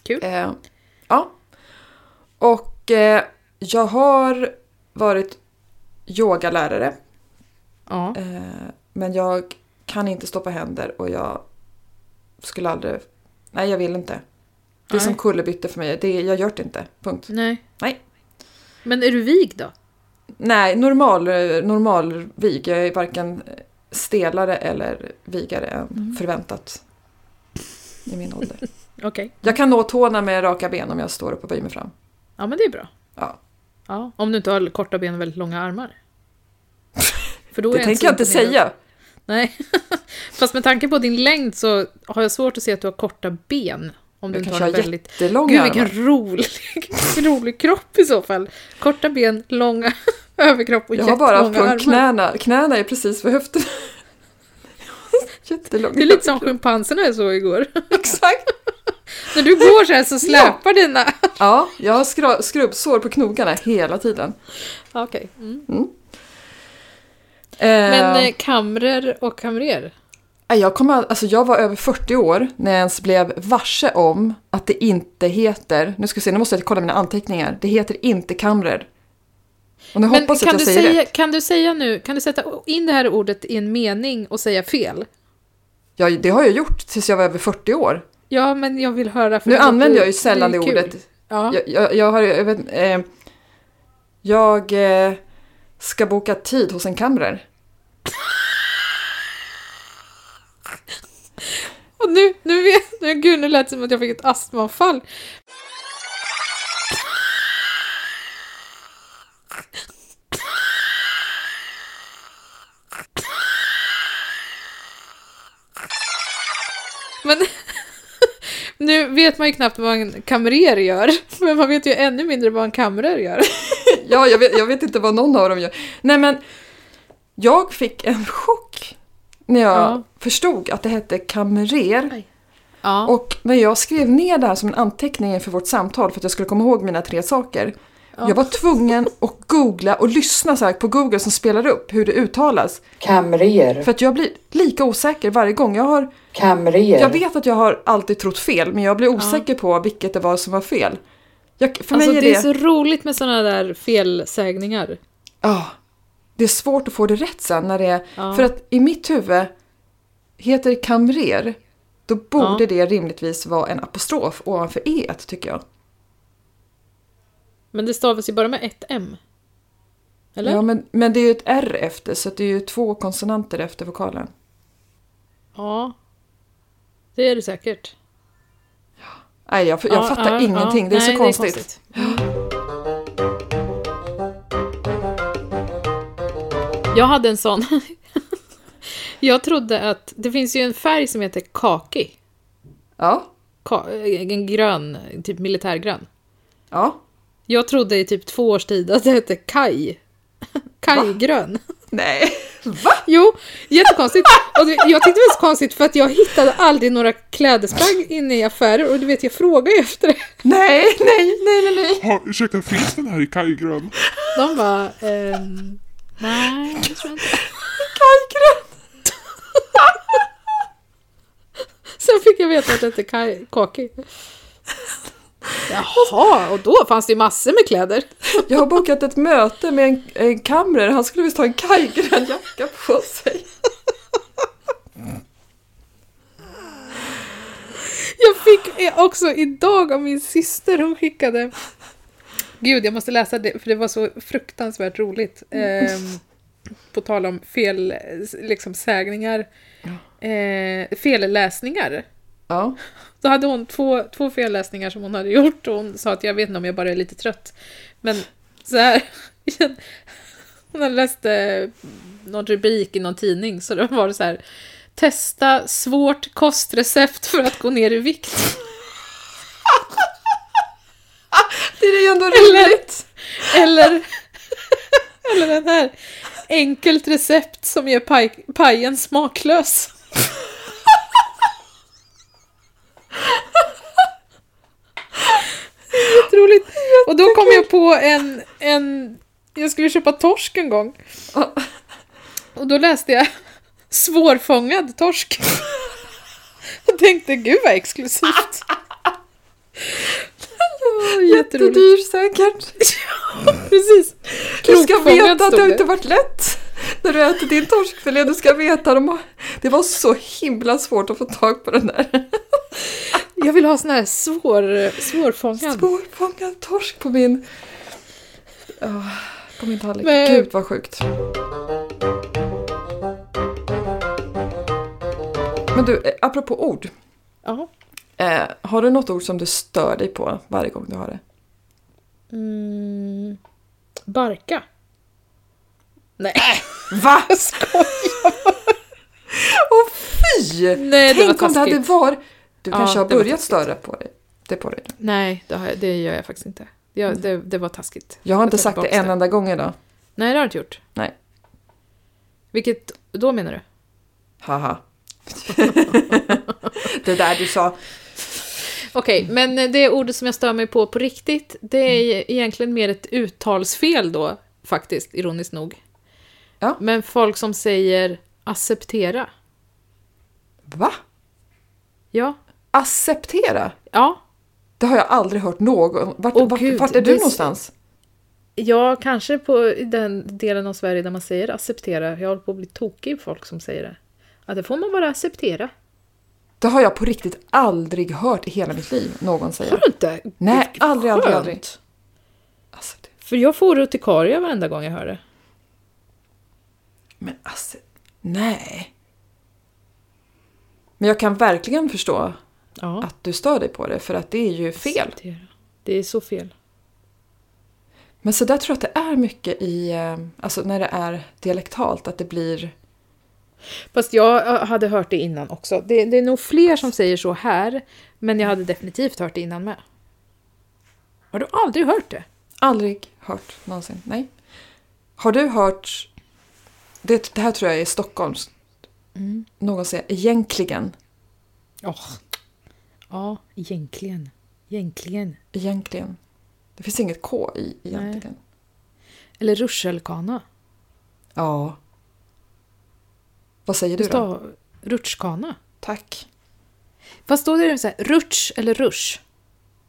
Speaker 1: Kul.
Speaker 2: Mm. Eh, ja. Och eh, jag har varit yogalärare.
Speaker 1: Ja.
Speaker 2: Eh, men jag kan inte stå på händer och jag skulle aldrig... Nej, jag vill inte. Det är
Speaker 1: Nej.
Speaker 2: som kullerbytte för mig. Det, jag gör det inte. Punkt.
Speaker 1: Nej.
Speaker 2: Nej.
Speaker 1: Men är du vig då?
Speaker 2: Nej, normal, eh, normal vig. Jag är varken stelare eller vigare än
Speaker 1: Mm.
Speaker 2: förväntat. I min ålder.
Speaker 1: Okej.
Speaker 2: Jag kan nå tårna med raka ben om jag står upp och böjer mig fram.
Speaker 1: Ja, men det är bra.
Speaker 2: Ja.
Speaker 1: ja. Om du inte har korta ben och väldigt långa armar. För då
Speaker 2: Det
Speaker 1: är
Speaker 2: tänker jag inte
Speaker 1: centimeter-
Speaker 2: säga.
Speaker 1: Nej. Fast med tanke på din längd så har jag svårt att se att du har korta ben. Om du
Speaker 2: Jag
Speaker 1: inte
Speaker 2: kanske
Speaker 1: har
Speaker 2: har
Speaker 1: en väldigt...
Speaker 2: jättelånga
Speaker 1: Gud vilken
Speaker 2: armar.
Speaker 1: rolig, vilken rolig kropp i så fall. Korta ben, långa överkropp och
Speaker 2: Jag har bara haft
Speaker 1: jättelånga
Speaker 2: från
Speaker 1: armar.
Speaker 2: knäna. Knäna är precis vid höften. Jättelånga.
Speaker 1: Det är lite som schimpanserna jag såg igår.
Speaker 2: Exakt.
Speaker 1: När du går så här så släpar dina...
Speaker 2: Ja, jag har skra- skrubbsår på knogarna hela tiden.
Speaker 1: Okej. Mm.
Speaker 2: Eh,
Speaker 1: Men eh, kamrer och kamrer?
Speaker 2: jag, kom, all- alltså jag var över 40 år när jag ens blev varse om att det inte heter, nu ska vi se, nu måste jag kolla mina anteckningar, det heter inte kamrer. Och nu
Speaker 1: Men
Speaker 2: hoppas jag
Speaker 1: kan,
Speaker 2: att
Speaker 1: du
Speaker 2: jag säger
Speaker 1: säga,
Speaker 2: rätt.
Speaker 1: kan du säga nu, kan du sätta in det här ordet i en mening och säga fel?
Speaker 2: Ja, det har jag gjort tills jag var över 40 år.
Speaker 1: Ja, men jag vill höra. för
Speaker 2: Nu
Speaker 1: det låter-
Speaker 2: använder jag ju sällan det,
Speaker 1: är kul.
Speaker 2: ordet.
Speaker 1: Ja.
Speaker 2: Jag, jag, jag har... Jag, vet, eh, jag eh, ska boka tid hos en kamrer.
Speaker 1: Och nu, nu vet nu, gud, nu lät det som att jag fick ett astmaanfall. Men nu vet man ju knappt vad en kamrer gör, men man vet ju ännu mindre vad en kamrer gör.
Speaker 2: Ja, jag vet, jag vet inte vad någon av dem gör. Nej, men jag fick en chock när jag
Speaker 1: Ja.
Speaker 2: förstod att det hette kamrer.
Speaker 1: Ja.
Speaker 2: Och när jag skrev ner det här som en anteckning inför vårt samtal för att jag skulle komma ihåg mina tre saker.
Speaker 1: Ja.
Speaker 2: Jag var tvungen att googla och lyssna så här på Google som spelar upp hur det uttalas.
Speaker 4: Kamrer.
Speaker 2: För att jag blir lika osäker varje gång. Jag, har,
Speaker 4: Kamrer.
Speaker 2: jag vet att jag har alltid trott fel men jag blir osäker på vilket det var som var fel. Jag, för
Speaker 1: Alltså
Speaker 2: mig är
Speaker 1: det
Speaker 2: det...
Speaker 1: är så roligt med sådana där felsägningar.
Speaker 2: Ja. Det är svårt att få det rätt sen när det är...
Speaker 1: Ja.
Speaker 2: För att i mitt huvud heter det kamrer. Då borde
Speaker 1: Ja.
Speaker 2: det rimligtvis vara en apostrof ovanför e tycker jag.
Speaker 1: Men det stavas ju bara med ett M. Eller?
Speaker 2: Ja, men, men det är ju ett r efter så att det är ju två konsonanter efter vokalen.
Speaker 1: Ja. Det är det säkert.
Speaker 2: Nej, jag, jag
Speaker 1: ja,
Speaker 2: fattar
Speaker 1: ja,
Speaker 2: ingenting.
Speaker 1: ja.
Speaker 2: Det är
Speaker 1: Nej,
Speaker 2: så konstigt.
Speaker 1: konstigt. Jag hade en sån. Jag trodde att... Det finns ju en färg som heter kaki.
Speaker 2: Ja,
Speaker 1: Ka, eh, en grön, typ militärgrön.
Speaker 2: ja.
Speaker 1: Jag trodde i typ två års tid att det hette kaj. Kajgrön.
Speaker 2: Nej. Va?
Speaker 1: Jo, jättekonstigt. Och det, jag tyckte det var så konstigt för att jag hittade aldrig några klädesplagg inne i affärer och du vet, jag frågade ju efter det.
Speaker 2: Nej, nej, nej, nej, nej.
Speaker 5: Har, ursäkta, finns den här i kajgrön?
Speaker 1: De bara, ehm, nej, jag tror inte.
Speaker 2: Kajgrön.
Speaker 1: Sen fick jag veta att det hette kaj- kaki. Jaha, och då fanns det ju massor med kläder.
Speaker 2: Jag har bokat ett möte med en, en kamrer. Han skulle visst ha en kajgrön jacka på sig.
Speaker 1: Jag fick också idag av min syster, hon skickade... Gud, jag måste läsa det, för det var så fruktansvärt roligt. Ehm, på tal om fel, liksom, sägningar. Eh, felläsningar.
Speaker 2: Ja.
Speaker 1: Då hade hon två, två felläsningar som hon hade gjort och hon sa att jag vet inte om jag bara är lite trött. Men så här. Hon hade läst eh, någon rubrik i någon tidning så då var det så här. Testa svårt kostrecept för att gå ner i vikt.
Speaker 2: Det är ju ändå
Speaker 1: Eller,
Speaker 2: roligt.
Speaker 1: eller, eller den här. Enkelt recept som gör paj, pajen smaklös. Jätteroligt. Och då kom jag på en, en... Jag skulle köpa torsk en gång.
Speaker 2: Ja.
Speaker 1: Och då läste jag svårfångad torsk. Och tänkte gud vad exklusivt. Åh, Jätteroligt.
Speaker 2: Jättedyr säkert.
Speaker 1: Mm. Precis.
Speaker 2: Du ska
Speaker 1: Krokfångad
Speaker 2: veta att
Speaker 1: stod
Speaker 2: det har inte varit lätt när du äter din torskfilé. Du ska veta, de har... det var så himla svårt att få tag på den där
Speaker 1: Jag vill ha sån här svår, svårfångad.
Speaker 2: svårfångad torsk på min... Ja, på min tallrik.
Speaker 1: Men-
Speaker 2: Gud vad sjukt. Men du, eh, apropå ord.
Speaker 1: Ja.
Speaker 2: Eh, har du något ord som du stör dig på varje gång du har det?
Speaker 1: Mm. Barka. Nej,
Speaker 2: Va?
Speaker 1: jag skojar.
Speaker 2: Åh fy!
Speaker 1: Nej, det var
Speaker 2: Tänk om det hade
Speaker 1: taskigt.
Speaker 2: varit... Du
Speaker 1: Ja,
Speaker 2: kanske har
Speaker 1: det var
Speaker 2: börjat
Speaker 1: taskigt.
Speaker 2: störa på dig. Det på dig.
Speaker 1: Nej, det, har jag, det gör jag faktiskt inte. Det, det, det var taskigt.
Speaker 2: Jag har inte
Speaker 1: tar
Speaker 2: sagt det
Speaker 1: tillbaks
Speaker 2: en enda gång idag.
Speaker 1: Nej, det har du inte gjort.
Speaker 2: Nej.
Speaker 1: Vilket då menar du?
Speaker 2: Haha. det där du sa.
Speaker 1: Okej, men det ordet som jag stör mig på på riktigt, det är egentligen mer ett uttalsfel då, faktiskt, ironiskt nog.
Speaker 2: Ja.
Speaker 1: Men folk som säger acceptera.
Speaker 2: Va?
Speaker 1: Ja.
Speaker 2: Acceptera?
Speaker 1: Ja,
Speaker 2: Det har jag aldrig hört någon. Vart,
Speaker 1: Åh,
Speaker 2: vart,
Speaker 1: Gud,
Speaker 2: vart är
Speaker 1: det
Speaker 2: du
Speaker 1: är så-
Speaker 2: någonstans?
Speaker 1: Ja, kanske på i den delen av Sverige där man säger acceptera. Jag håller på att bli tokig i folk som säger det. Ja, det får man bara acceptera.
Speaker 2: Det har jag på riktigt aldrig hört i hela mitt liv någon
Speaker 4: Har
Speaker 2: säga.
Speaker 4: du inte?
Speaker 2: Nej, aldrig, aldrig,
Speaker 4: Skönt.
Speaker 2: aldrig. Alltså, det,
Speaker 4: För jag får urtikaria varenda gång jag hör det.
Speaker 2: men alltså, nej. Men jag kan verkligen förstå
Speaker 4: Ja.
Speaker 2: att du stör dig på det, för att det är ju fel.
Speaker 4: acceptera. Det är så fel.
Speaker 2: Men så där tror jag att det är mycket i, eh, alltså när det är dialektalt, att det blir...
Speaker 1: Fast jag eh, hade hört det innan också. Det, det är nog fler som säger så här, men jag hade definitivt hört det innan med. Har du aldrig hört det?
Speaker 2: Aldrig hört någonsin, nej. Har du hört, det, det här tror jag är Stockholms, någon säger egentligen,
Speaker 1: Ja, egentligen. Egentligen.
Speaker 2: egentligen. Det finns inget K i egentligen.
Speaker 1: Eller rutschkana.
Speaker 2: Ja. Vad säger du
Speaker 1: Du
Speaker 2: då?
Speaker 1: stav- Rutschkana.
Speaker 2: Tack.
Speaker 1: Fast då är det så här, rutsch eller rusch.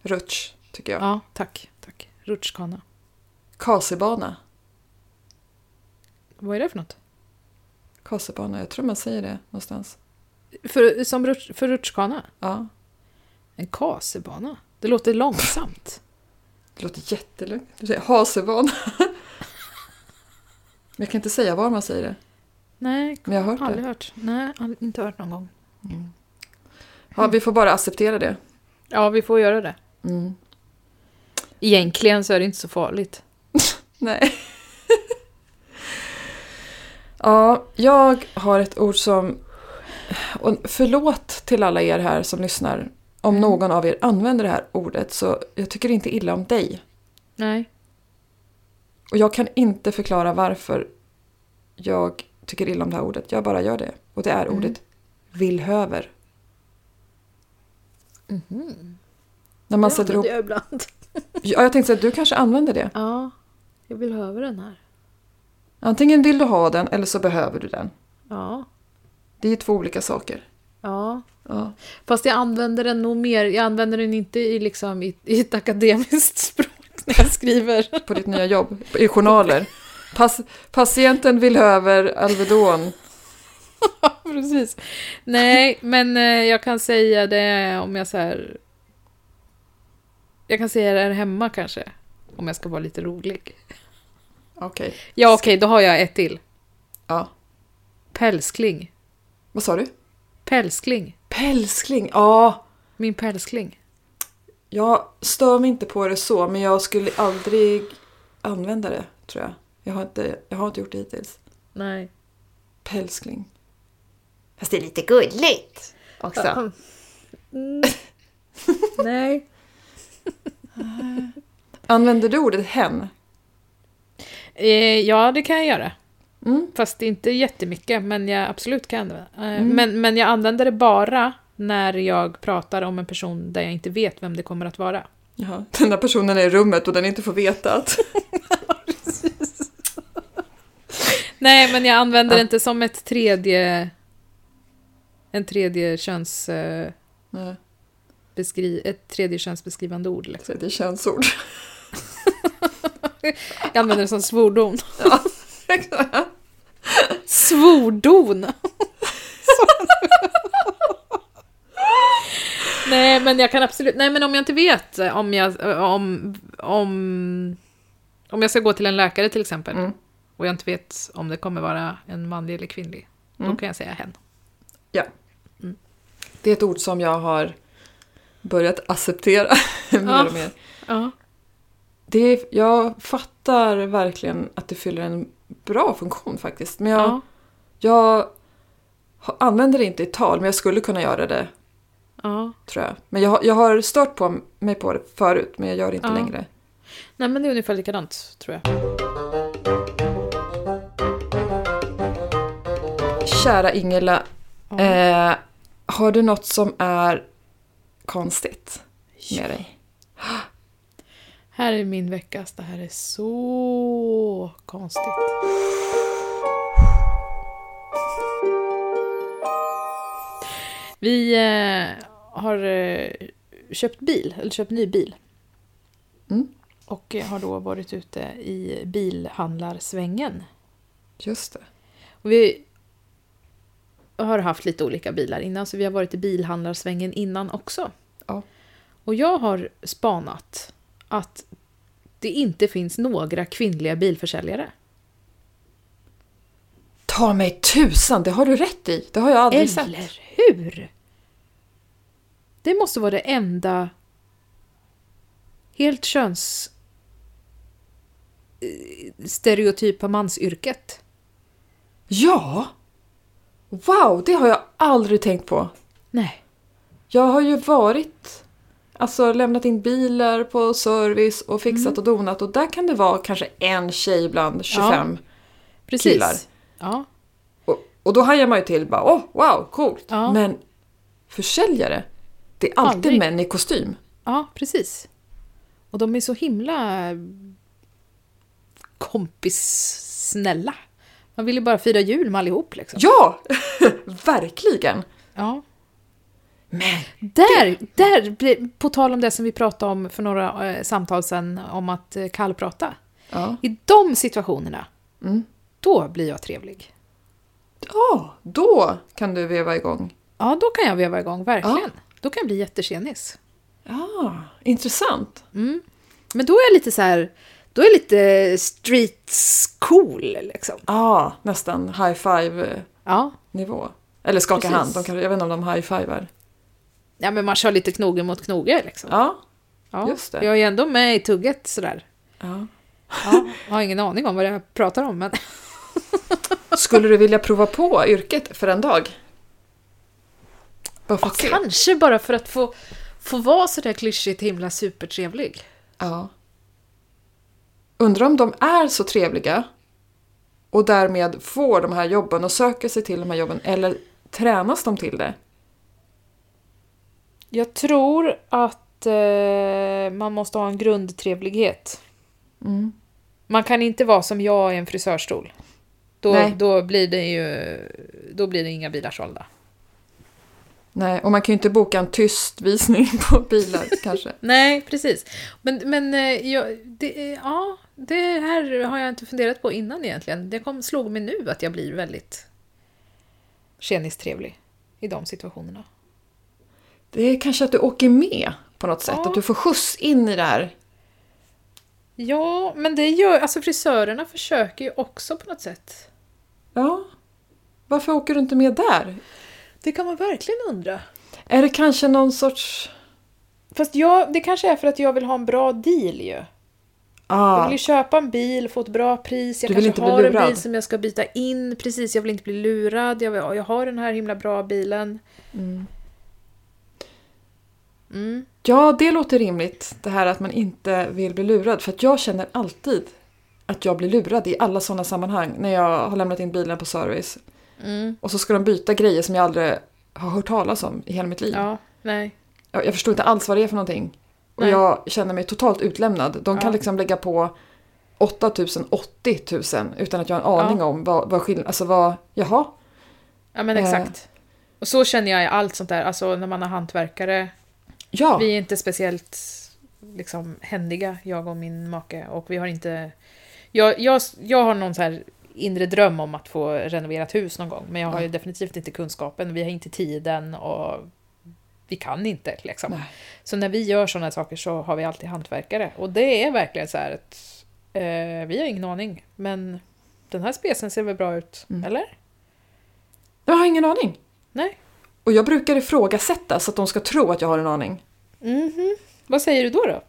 Speaker 2: Rutsch, tycker jag.
Speaker 1: Ja, tack. tack. Rutschkana.
Speaker 2: Kasebana.
Speaker 1: Vad är det för något?
Speaker 2: Kasebana, jag tror man säger det någonstans.
Speaker 1: För, som rutsch, för rutschkana?
Speaker 2: Ja,
Speaker 1: En kasebana? Det låter långsamt.
Speaker 2: det låter jättelugnt. Du säger hasebana. Men jag kan inte säga var man säger det.
Speaker 1: Nej,
Speaker 2: Men jag har hört
Speaker 1: aldrig
Speaker 2: det.
Speaker 1: hört. Nej, aldrig- inte hört någon gång.
Speaker 2: Ja, vi får bara acceptera det.
Speaker 1: Ja, vi får göra det.
Speaker 2: Mm.
Speaker 1: Egentligen så är det inte så farligt.
Speaker 2: Nej. ja, jag har ett ord som... Och förlåt till alla er här som lyssnar. Om någon av er använder det här ordet så jag tycker inte illa om dig.
Speaker 1: Nej.
Speaker 2: Och jag kan inte förklara varför jag tycker illa om det här ordet. Jag bara gör det. Och det är ordet villhöver. Mhm. När man sätter ihop...
Speaker 4: jag ibland.
Speaker 2: Ja, jag tänkte säga att du kanske använder det.
Speaker 1: Ja, jag vill höra den här.
Speaker 2: Antingen vill du ha den eller så behöver du den.
Speaker 1: Ja,
Speaker 2: Det är ju två olika saker.
Speaker 1: ja.
Speaker 2: Ja.
Speaker 1: Fast jag använder den nog mer. Jag använder den inte i, liksom, i, i ett akademiskt språk när jag skriver.
Speaker 2: På ditt nya jobb, i journaler. Pas- patienten vill höver Alvedon.
Speaker 1: Precis. Nej, men eh, jag kan säga det om jag så här... Jag kan säga det här hemma kanske. Om jag ska vara lite rolig.
Speaker 2: Okej.
Speaker 1: Ja, okej, då har jag ett till.
Speaker 2: Ja.
Speaker 1: Pälskling.
Speaker 2: Vad sa du?
Speaker 1: Pälskling.
Speaker 2: Pälskling. Ja.
Speaker 1: Min pälskling.
Speaker 2: Jag stör mig inte på det så, men jag skulle aldrig använda det, tror jag. Jag har inte, jag har inte gjort det hittills.
Speaker 1: Nej.
Speaker 2: Pälskling.
Speaker 6: Fast det är lite gulligt.
Speaker 1: Också. Mm. Nej.
Speaker 2: Använder du ordet hen?
Speaker 1: Eh, ja, det kan jag göra.
Speaker 2: Mm.
Speaker 1: Fast inte jättemycket, men jag absolut kan använda eh, men, men jag använder det bara när jag pratar om en person där jag inte vet vem det kommer att vara.
Speaker 2: Jaha. Den där personen är i rummet och den inte får veta att...
Speaker 1: Nej, men jag använder det inte som ett tredje... En tredje köns... eh,
Speaker 2: Nej,
Speaker 1: Beskri, ett tredje könsbeskrivande ord. Liksom.
Speaker 2: så det är könsord.
Speaker 1: Jag använder det som svordon.
Speaker 2: Exakt.
Speaker 1: Svordon! Så- nej, men jag kan absolut... Nej, men om jag inte vet eh, om jag... eh, Om, om, om jag ska gå till en läkare till exempel
Speaker 2: Mm.
Speaker 1: och jag inte vet om det kommer vara en manlig eller kvinnlig,
Speaker 2: Mm.
Speaker 1: då kan jag säga hen.
Speaker 2: det är ett ord som jag har börjat acceptera mer och mer.
Speaker 1: Ja.
Speaker 2: Det är, jag fattar verkligen att det fyller en bra funktion faktiskt. Men jag,
Speaker 1: Ja.
Speaker 2: jag har- använder det inte i tal, men jag skulle kunna göra det
Speaker 1: ja.
Speaker 2: tror jag. Men jag, har- jag har stört på mig på det förut, men jag gör det inte
Speaker 1: Ja.
Speaker 2: längre.
Speaker 1: Nej, men det är ungefär likadant, tror jag.
Speaker 2: Kära Ingela, eh, har du något som är konstigt med dig?
Speaker 1: Här är min veckas. Det här är så konstigt. Vi eh, har eh, köpt bil, eller köpt ny bil.
Speaker 2: Mm.
Speaker 1: Och eh, har då varit ute i bilhandlarsvängen.
Speaker 2: Just det.
Speaker 1: Och vi har haft lite olika bilar innan, så vi har varit i bilhandlarsvängen innan också.
Speaker 2: Ja.
Speaker 1: Och jag har spanat att det inte finns några kvinnliga bilförsäljare.
Speaker 2: Ta mig tusan, det har du rätt i. Det har jag aldrig sett.
Speaker 1: Eller hur? Det måste vara det enda helt köns eh, stereotypa mansyrket.
Speaker 2: Ja! Wow, det har jag aldrig tänkt på.
Speaker 1: Nej.
Speaker 2: Jag har ju varit, alltså lämnat in bilar på service och fixat och donat och där kan det vara kanske en tjej bland 25.
Speaker 1: Precis.
Speaker 2: Killar.
Speaker 1: Ja.
Speaker 2: Och, och då hajar man ju till bara åh, wow, coolt.
Speaker 1: Ja.
Speaker 2: Men försäljare, det är alltid
Speaker 1: Aldrig.
Speaker 2: män i kostym.
Speaker 1: ja, precis. Och de är så himla kompissnälla. Man vill ju bara fira jul med allihop liksom.
Speaker 2: Ja, verkligen.
Speaker 1: Ja.
Speaker 2: Men
Speaker 1: Där, där, blir- på tal om det som vi pratade om för några eh, samtal sedan om att eh, kallprata.
Speaker 2: Ja.
Speaker 1: I de situationerna, då blir jag trevlig.
Speaker 2: ja, då kan du veva igång.
Speaker 1: Ja, då kan jag veva igång, verkligen. Då kan jag bli jättekenis.
Speaker 2: Ja, Ah, intressant.
Speaker 1: Men då är jag lite så här, då är jag lite streets cool liksom.
Speaker 2: Ja, nästan high five
Speaker 1: Ja.
Speaker 2: nivå. Eller skaka
Speaker 1: Precis.
Speaker 2: hand, de kan, jag vet inte om de high-fivar.
Speaker 1: ja, men man kör lite knoge mot knoge liksom.
Speaker 2: Ja,
Speaker 1: Ja,
Speaker 2: just det.
Speaker 1: Jag är ju ändå med i tugget sådär.
Speaker 2: ja.
Speaker 1: Ja, jag har ingen aning om vad jag pratar om, men
Speaker 2: Skulle du vilja prova på yrket för en dag? Bara för att se.
Speaker 1: kanske bara för att få, få vara sådär klyschigt himla supertrevlig.
Speaker 2: Ja. Undrar om de är så trevliga och därmed får de här jobben och söker sig till de här jobben eller tränas de till det?
Speaker 1: Jag tror att eh, man måste ha en grundtrevlighet. Mm. Man kan inte vara som jag i en frisörstol. Då,
Speaker 2: Nej.
Speaker 1: då blir det ju då blir det inga bilar sålda.
Speaker 2: Nej, och man kan ju inte boka en tyst visning på bilar kanske.
Speaker 1: Nej, precis. Men, men eh, jag, det, är- ja, det här har jag inte funderat på innan egentligen. Det kom, slog mig nu att jag blir väldigt tjenistrevlig i de situationerna.
Speaker 2: Det är kanske att du åker med på något sätt,
Speaker 1: Ja.
Speaker 2: att du får skjuts in i det här.
Speaker 1: Ja, men det gör... Alltså frisörerna försöker ju också på något sätt.
Speaker 2: Ja, varför åker du inte med där?
Speaker 1: Det kan man verkligen undra.
Speaker 2: Är det kanske någon sorts...
Speaker 1: Fast jag, det kanske är för att jag vill ha en bra deal ju. Jag
Speaker 2: Ah,
Speaker 1: vill ju köpa en bil, få ett bra pris, jag
Speaker 2: Du vill
Speaker 1: kanske
Speaker 2: inte bli
Speaker 1: har en
Speaker 2: lurad.
Speaker 1: bil som jag ska byta in. Precis, jag vill inte bli lurad. Jag, vill, jag har den här himla bra bilen.
Speaker 2: Mm.
Speaker 1: Mm,
Speaker 2: Ja, det låter rimligt. Det här att man inte vill bli lurad. För att jag känner alltid att jag blir lurad i alla sådana sammanhang. När jag har lämnat in bilen på service.
Speaker 1: Mm.
Speaker 2: Och så ska de byta grejer som jag aldrig har hört talas om i hela mitt liv.
Speaker 1: Ja, nej.
Speaker 2: Jag, jag förstår inte alls vad det är för någonting. Och
Speaker 1: Nej.
Speaker 2: jag känner mig totalt utlämnad. De kan liksom lägga på 8000, 80 000 utan att jag har en aning om vad, vad skillnaden... Alltså vad... Jaha?
Speaker 1: Ja, men
Speaker 2: Eh.
Speaker 1: exakt. Och så känner jag i allt sånt där, alltså när man har hantverkare.
Speaker 2: Ja!
Speaker 1: Vi är inte speciellt liksom, händiga, jag och min make. Och vi har inte... Jag, jag, jag har någon så här inre dröm om att få renoverat hus någon gång. Men jag har ju definitivt inte kunskapen, vi har inte tiden och vi kan inte. Liksom.
Speaker 2: Nej.
Speaker 1: Så när vi gör sådana saker så har vi alltid hantverkare. Och det är verkligen så här att eh, vi har ingen aning. Men den här specen ser väl bra ut,
Speaker 2: Mm.
Speaker 1: eller?
Speaker 2: Jag har ingen aning.
Speaker 1: Nej.
Speaker 2: Och jag brukar ifrågasätta så att de ska tro att jag har en aning.
Speaker 1: Vad säger du då? då?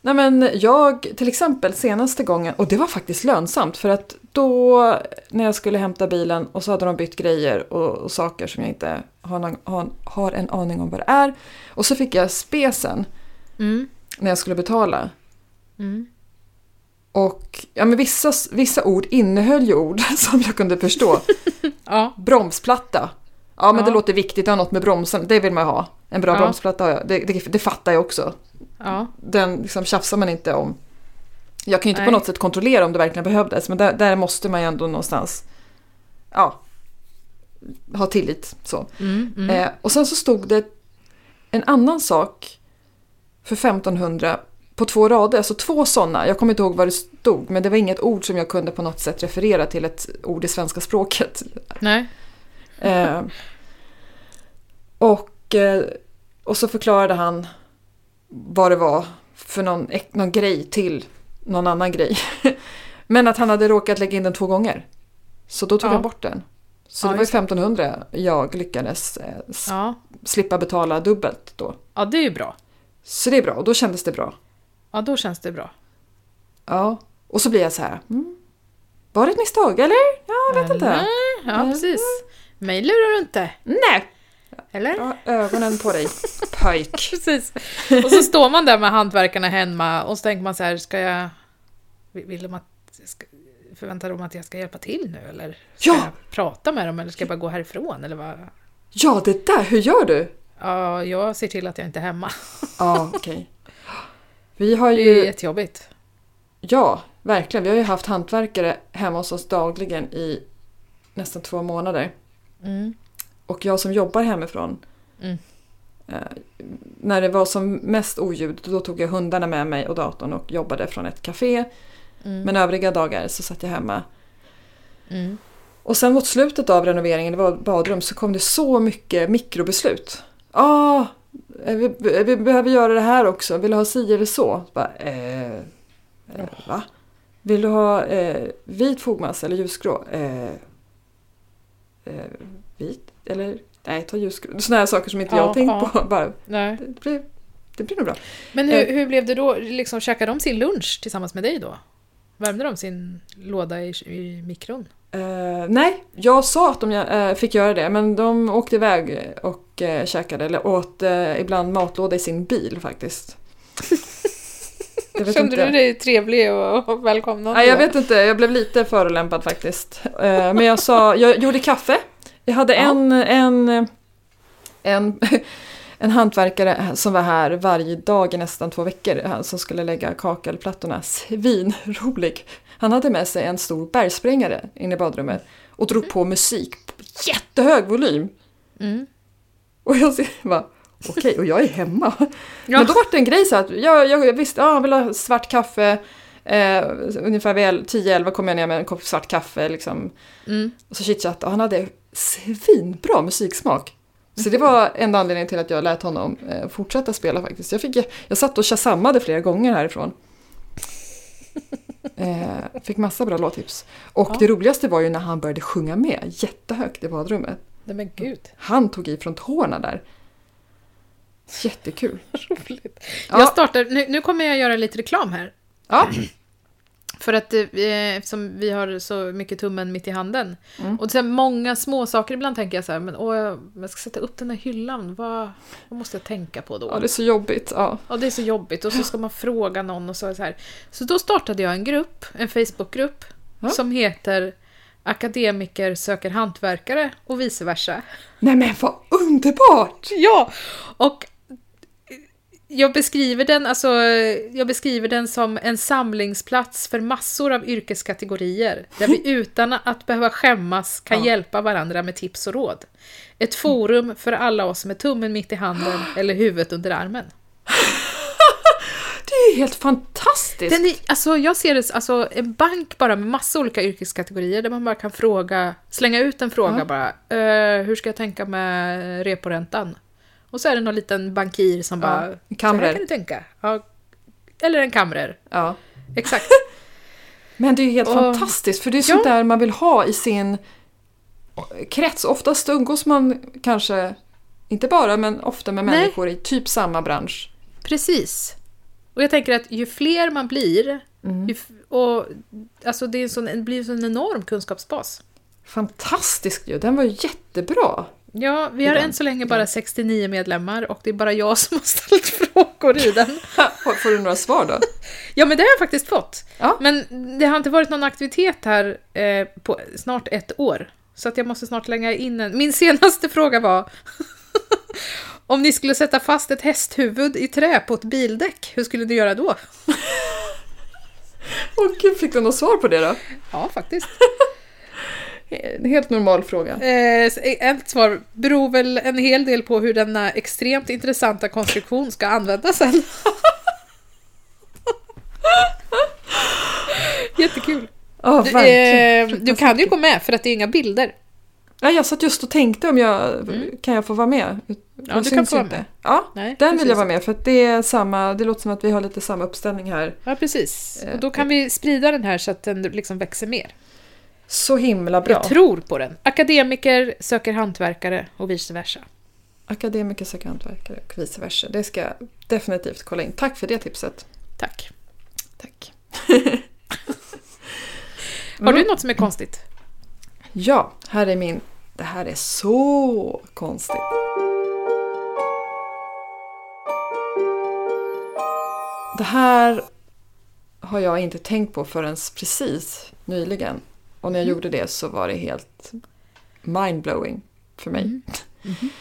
Speaker 2: Nej men jag, till exempel senaste gången, och det var faktiskt lönsamt för att då när jag skulle hämta bilen och så hade de bytt grejer och, och saker som jag inte har, någon, har, har en aning om vad det är. Och så fick jag spesen när jag skulle betala.
Speaker 1: Mm.
Speaker 2: Och ja, men vissa, vissa ord innehöll ju ord som jag kunde förstå.
Speaker 1: Ja.
Speaker 2: Bromsplatta. Ja men
Speaker 1: Ja.
Speaker 2: det låter viktigt, det har något med bromsen, det vill man ha. En bra
Speaker 1: Ja.
Speaker 2: bromsplatta har jag, det, det, det fattar jag också
Speaker 1: Ja.
Speaker 2: den liksom tjafsar man inte om. Jag kan ju inte
Speaker 1: Nej.
Speaker 2: på något sätt kontrollera om det verkligen behövdes, men där, där måste man ju ändå någonstans ja, ha tillit. Så.
Speaker 1: Mm,
Speaker 2: Eh, och sen så stod det en annan sak för 1500 på två rader, alltså två sådana. Jag kommer inte ihåg vad det stod, men det var inget ord som jag kunde på något sätt referera till ett ord i svenska språket.
Speaker 1: Nej.
Speaker 2: Eh, Eh, och, eh, och så förklarade han vad det var för någon, ek- någon grej till någon annan grej. Men att han hade råkat lägga in den två gånger. Så då tog
Speaker 1: Ja.
Speaker 2: han bort den. Så
Speaker 1: Ja,
Speaker 2: det var ju
Speaker 1: just
Speaker 2: 1500 jag lyckades eh, s-
Speaker 1: Ja.
Speaker 2: slippa betala dubbelt då.
Speaker 1: ja, det är ju bra.
Speaker 2: Så det är bra och då kändes det bra.
Speaker 1: Ja, då känns det bra.
Speaker 2: Ja. Och så blir jag så här. Mm. Var det ett misstag eller? Ja, jag vet inte.
Speaker 1: Eller? Ja, precis. Mig lurar du inte,
Speaker 2: Nej!
Speaker 1: eller?
Speaker 2: Jag har ögonen på dig, pojk.
Speaker 1: Precis. Och så står man där med hantverkarna hemma och så tänker man så här, ska jag... Vill de att... Ska, förväntar de att jag ska hjälpa till nu eller? Ska
Speaker 2: Ja!
Speaker 1: jag prata med dem eller ska jag bara gå härifrån eller vad?
Speaker 2: Ja, det där, hur gör du?
Speaker 1: Ja, jag ser till att jag inte är hemma. Mm.
Speaker 2: Ja, okej. Vi har
Speaker 1: Det är ju
Speaker 2: ju,
Speaker 1: jättejobbigt.
Speaker 2: ja, verkligen. Vi har ju haft hantverkare hemma hos oss dagligen i nästan två månader.
Speaker 1: Mm.
Speaker 2: Och jag som jobbar hemifrån.
Speaker 1: Mm.
Speaker 2: Eh, när det var som mest oljud, då tog jag hundarna med mig och datorn och jobbade från ett café.
Speaker 1: Mm.
Speaker 2: Men övriga dagar så satt jag hemma.
Speaker 1: Mm.
Speaker 2: Och sen mot slutet av renoveringen, det var ett badrum, så kom det så mycket mikrobeslut. Ja, eh, vi, vi behöver göra det här också, vill du ha si eller så? så bara, eh, eh, va? Vill du ha eh, vit fogmassa eller ljusgrå? Eh, eh, vit? Eller? Nej, ta ljusgrå. Sådana här saker som inte
Speaker 1: Ja,
Speaker 2: jag har tänkt
Speaker 1: ja.
Speaker 2: på. Bara,
Speaker 1: Nej.
Speaker 2: det, blir, det blir nog bra.
Speaker 1: Men
Speaker 2: Eh.
Speaker 1: hur, hur blev det då? Liksom, käkade de sin lunch tillsammans med dig då? Värmde de sin låda i, i mikron?
Speaker 2: Eh, nej, jag sa att de eh, fick göra det men de åkte iväg och uh, käkade eller åt eh, ibland matlåda i sin bil faktiskt. Jag vet
Speaker 1: Kände
Speaker 2: inte.
Speaker 1: du dig trevlig och, och välkomnande?
Speaker 2: Nej, jag
Speaker 1: då?
Speaker 2: vet inte. Jag blev lite förolämpad faktiskt. Eh, men jag sa, jag gjorde kaffe. Jag hade en, en, en, en hantverkare som var här varje dag i nästan två veckor han som skulle lägga kakelplattorna. Svinrolig! Han hade med sig en stor bergsprängare in i badrummet och drog på musik på jättehög volym.
Speaker 1: Mm.
Speaker 2: Och jag ser- bara, okej, och jag är hemma.
Speaker 1: Ja.
Speaker 2: Men då var det en grej så att jag, jag visste, ja, han vill ha svart kaffe. Eh, ungefär vid el- 10-11 kom jag ner med en kopp svart kaffe liksom.
Speaker 1: Mm.
Speaker 2: Och så chitchattade och han hade svinbra musiksmak. Så det var enda anledningen till att jag lät honom eh, fortsätta spela faktiskt. Jag, fick, jag satt och shazammade flera gånger härifrån. Eh, fick massa bra låttips. Och
Speaker 1: Ja.
Speaker 2: det roligaste var ju när han började sjunga med jättehögt i badrummet.
Speaker 1: Nej men gud,
Speaker 2: Han tog i från tårna där. Jättekul.
Speaker 1: roligt.
Speaker 2: Ja.
Speaker 1: Jag startar, nu, nu kommer jag göra lite reklam här.
Speaker 2: Ja.
Speaker 1: För att eh, eftersom vi har så mycket tummen mitt i handen.
Speaker 2: Mm.
Speaker 1: Och sen många små saker ibland tänker jag så här, men åh, jag- jag ska sätta upp den här hyllan, vad, vad måste jag tänka på då?
Speaker 2: ja, det är så jobbigt. Ja.
Speaker 1: Ja, det är så jobbigt och så ska man fråga någon och så, så här. Så då startade jag en grupp, en Facebookgrupp,
Speaker 2: Ja.
Speaker 1: som heter Akademiker söker hantverkare och vice versa.
Speaker 2: Nej men vad underbart!
Speaker 1: Ja! Och jag beskriver, den, alltså, jag beskriver den som en samlingsplats för massor av yrkeskategorier där vi utan att behöva skämmas kan hjälpa varandra med tips och råd. Ett forum för alla oss med tummen mitt i handen eller huvudet under armen.
Speaker 2: Det är ju helt fantastiskt!
Speaker 1: Den är, alltså, jag ser det som alltså, en bank bara med massa olika yrkeskategorier där man bara kan fråga, slänga ut en fråga bara. Eh, hur ska jag tänka med reporäntan? Och så är det någon liten bankir som bara...
Speaker 2: en
Speaker 1: Så här
Speaker 2: kamrer."
Speaker 1: kan du tänka. Ja, eller en kamrer.
Speaker 2: Ja.
Speaker 1: Exakt.
Speaker 2: Men det är ju helt
Speaker 1: Och-
Speaker 2: fantastiskt för det är sånt där man vill ha i sin krets. Oftast umgås man kanske, inte bara, men ofta med
Speaker 1: Nej.
Speaker 2: människor i typ samma bransch.
Speaker 1: Precis. Och jag tänker att ju fler man blir, ju f- och, alltså, det, är en sån, det blir en sån enorm kunskapsbas.
Speaker 2: Fantastiskt ju! Den var ju jättebra!
Speaker 1: Ja, vi har
Speaker 2: den.
Speaker 1: än så länge bara 69 medlemmar och det är bara jag som har ställt frågor i den.
Speaker 2: Får- Får du några svar då?
Speaker 1: Ja, men det har jag faktiskt fått.
Speaker 2: Ja.
Speaker 1: Men det har inte varit någon aktivitet här eh, på snart ett år. Så att jag måste snart lägga in en. Min senaste fråga var Om ni skulle sätta fast ett hästhuvud i trä på ett bildäck, hur skulle ni göra då?
Speaker 2: Åh gud, fick du något svar på det då?
Speaker 1: Ja, faktiskt.
Speaker 2: En helt normal fråga.
Speaker 1: Eh, s- ett svar beror väl en hel del på hur denna extremt intressanta konstruktion ska användas sen. Jättekul.
Speaker 2: Ja,
Speaker 1: Du,
Speaker 2: verkligen.
Speaker 1: eh, du kan ju gå med för att det är inga bilder.
Speaker 2: Ja, jag satt just och tänkte om jag kan jag få vara med.
Speaker 1: Mm. Ja,
Speaker 2: Man
Speaker 1: du kan
Speaker 2: syns
Speaker 1: få vara
Speaker 2: inte.
Speaker 1: med.
Speaker 2: Ja,
Speaker 1: Nej,
Speaker 2: den
Speaker 1: precis.
Speaker 2: vill jag vara med för att det är samma, det låter som att vi har lite samma uppställning här.
Speaker 1: Ja, precis.
Speaker 2: Eh,
Speaker 1: Och då kan vi sprida den här så att den liksom växer mer.
Speaker 2: Så himla bra.
Speaker 1: Jag tror på den. Akademiker söker hantverkare och vice versa.
Speaker 2: Akademiker söker hantverkare och vice versa. Det ska jag definitivt kolla in. Tack för det tipset.
Speaker 1: Tack.
Speaker 2: Tack.
Speaker 1: Har du något som är konstigt?
Speaker 2: Ja, här är min. Det här är så konstigt. Det här har jag inte tänkt på förrän precis nyligen. Och när jag gjorde det så var det helt mindblowing för mig.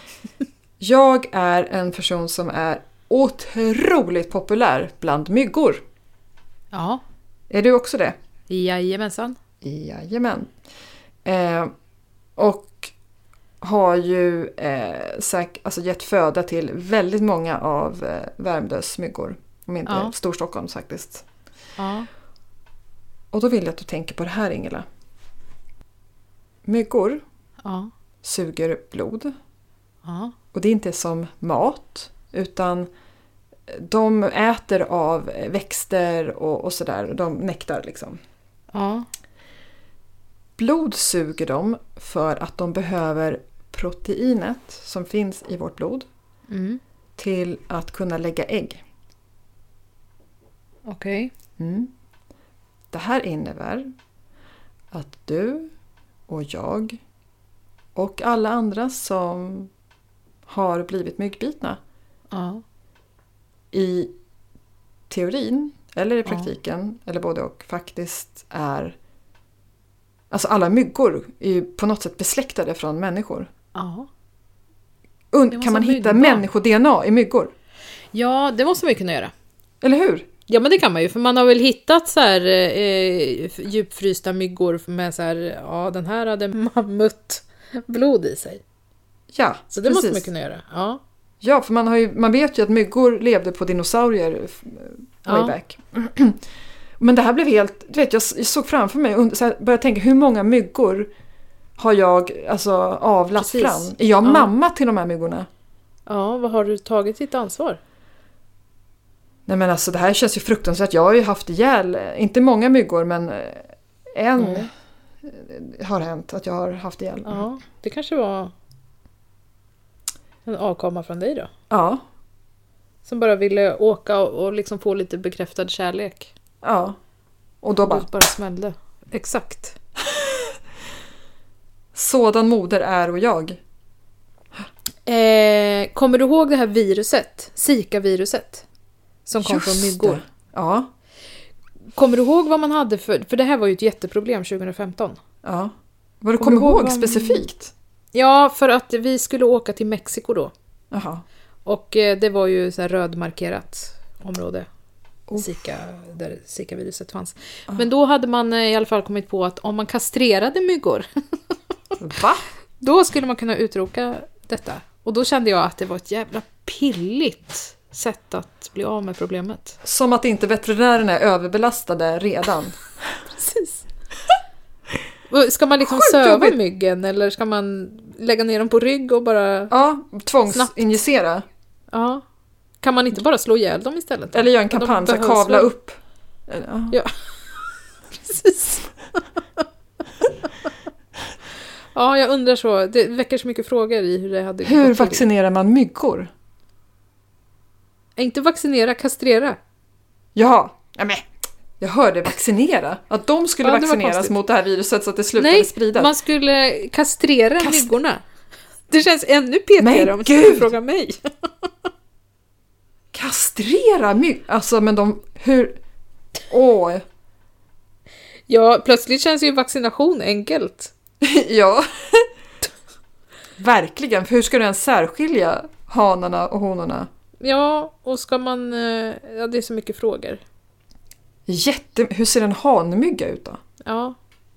Speaker 2: Jag är en person som är otroligt populär bland myggor.
Speaker 1: Ja.
Speaker 2: Är du också det?
Speaker 1: Jajamensan.
Speaker 2: Jajamän. Eh, och har ju eh, säk- alltså gett föda till väldigt många av eh, Värmdös myggor. Om inte
Speaker 1: Ja.
Speaker 2: Storstockholm faktiskt.
Speaker 1: Ja.
Speaker 2: Och då vill jag att du tänker på det här Ingela. Myggor
Speaker 1: Ja.
Speaker 2: suger blod.
Speaker 1: Ja.
Speaker 2: Och det är inte som mat, utan de äter av växter och, och sådär. De nektar liksom.
Speaker 1: Ja.
Speaker 2: Blod suger de för att de behöver proteinet som finns i vårt blod
Speaker 1: Mm.
Speaker 2: till att kunna lägga ägg.
Speaker 1: Okej.
Speaker 2: Mm. Det här innebär att du och jag och alla andra som har blivit myggbitna
Speaker 1: Ja.
Speaker 2: i teorin eller i praktiken, eller både och, faktiskt är... Alltså alla myggor är ju på något sätt besläktade från människor.
Speaker 1: Ja. Det
Speaker 2: Und,
Speaker 1: var
Speaker 2: kan man
Speaker 1: som
Speaker 2: hitta
Speaker 1: myggbarn.
Speaker 2: människo-DNA i myggor?
Speaker 1: Ja, det måste man ju kunna göra.
Speaker 2: Eller hur?
Speaker 1: Ja men det kan man ju, för man har väl hittat så här eh, djupfrysta myggor med så här, ja den här hade mammutblod i sig.
Speaker 2: Ja,
Speaker 1: Så det måste man kunna göra. Ja.
Speaker 2: Ja, för man, har ju, man vet ju att myggor levde på dinosaurier f- way
Speaker 1: Ja.
Speaker 2: back. Men det här blev helt... Du vet, jag s- såg framför mig och så här började tänka hur många myggor har jag alltså, avlat
Speaker 1: Precis.
Speaker 2: fram? Är jag
Speaker 1: Ja.
Speaker 2: mamma till de här myggorna?
Speaker 1: ja, vad har du tagit ditt ansvar?
Speaker 2: Nej men alltså det här känns ju fruktansvärt. Jag har ju haft ihjäl, eh, inte många myggor men eh, en eh, har hänt att jag har haft ihjäl.
Speaker 1: Mm. Ja, det kanske var en avkomma från dig då?
Speaker 2: Ja,
Speaker 1: Som bara ville åka och, och liksom få lite bekräftad kärlek.
Speaker 2: ja. Och då bara,
Speaker 1: Och bara smällde. Exakt.
Speaker 2: sådan moder är och jag.
Speaker 1: Eh, kommer du ihåg det här viruset? Zika-viruset? Som kom från
Speaker 2: Just
Speaker 1: myggor.
Speaker 2: det. Ja,
Speaker 1: Kommer du ihåg vad man hade för... För det här var ju ett jätteproblem 2015.
Speaker 2: ja. Vad du
Speaker 1: Kommer
Speaker 2: kommer
Speaker 1: du ihåg
Speaker 2: ihåg
Speaker 1: vad-
Speaker 2: specifikt?
Speaker 1: Ja, för att vi skulle åka till Mexiko då.
Speaker 2: Jaha.
Speaker 1: Och eh, det var ju så här rödmarkerat område.
Speaker 2: Oh.
Speaker 1: Zika, där Zika-viruset fanns.
Speaker 2: Ah.
Speaker 1: Men då hade man eh, i alla fall kommit på att om man kastrerade myggor,
Speaker 2: Va?
Speaker 1: då skulle man kunna utroka detta. Och då kände jag att det var ett jävla pilligt sätt att bli av med problemet.
Speaker 2: Som att inte veterinärerna är överbelastade redan.
Speaker 1: Precis. Och Ska man liksom
Speaker 2: Sjukt
Speaker 1: söva
Speaker 2: jobbigt.
Speaker 1: myggen eller ska man lägga ner dem på rygg och bara...
Speaker 2: Ja, tvångsinjicera.
Speaker 1: Ja. Kan man inte bara slå ihjäl dem istället?
Speaker 2: Eller göra en
Speaker 1: Men de
Speaker 2: kampanj, så här,
Speaker 1: behövs
Speaker 2: kavla
Speaker 1: väl?
Speaker 2: upp. Eller, ja.
Speaker 1: Precis. ja, jag undrar så. Det väcker så mycket frågor i hur det hade
Speaker 2: Hur
Speaker 1: gått till.
Speaker 2: vaccinerar man myggor?
Speaker 1: Nej, Inte vaccinera, kastrera.
Speaker 2: Jaha. Ja, men. Jag hörde vaccinera. Att de skulle
Speaker 1: Ja, det var
Speaker 2: vaccineras
Speaker 1: konstigt.
Speaker 2: mot det här viruset så att det slutade
Speaker 1: Nej,
Speaker 2: spridas.
Speaker 1: man skulle kastrera myggorna. Det känns ännu petigare
Speaker 2: Men
Speaker 1: om du
Speaker 2: gud!
Speaker 1: frågar mig.
Speaker 2: Kastrera myggor! Alltså men de... Hur... Åh!
Speaker 1: Ja, plötsligt känns ju vaccination enkelt.
Speaker 2: ja. Verkligen, för hur ska du ens särskilja hanarna och honorna?
Speaker 1: Ja, och ska man... eh, Ja, det är så mycket frågor.
Speaker 2: Jätte... Hur ser en hanmygga ut då?
Speaker 1: Ja.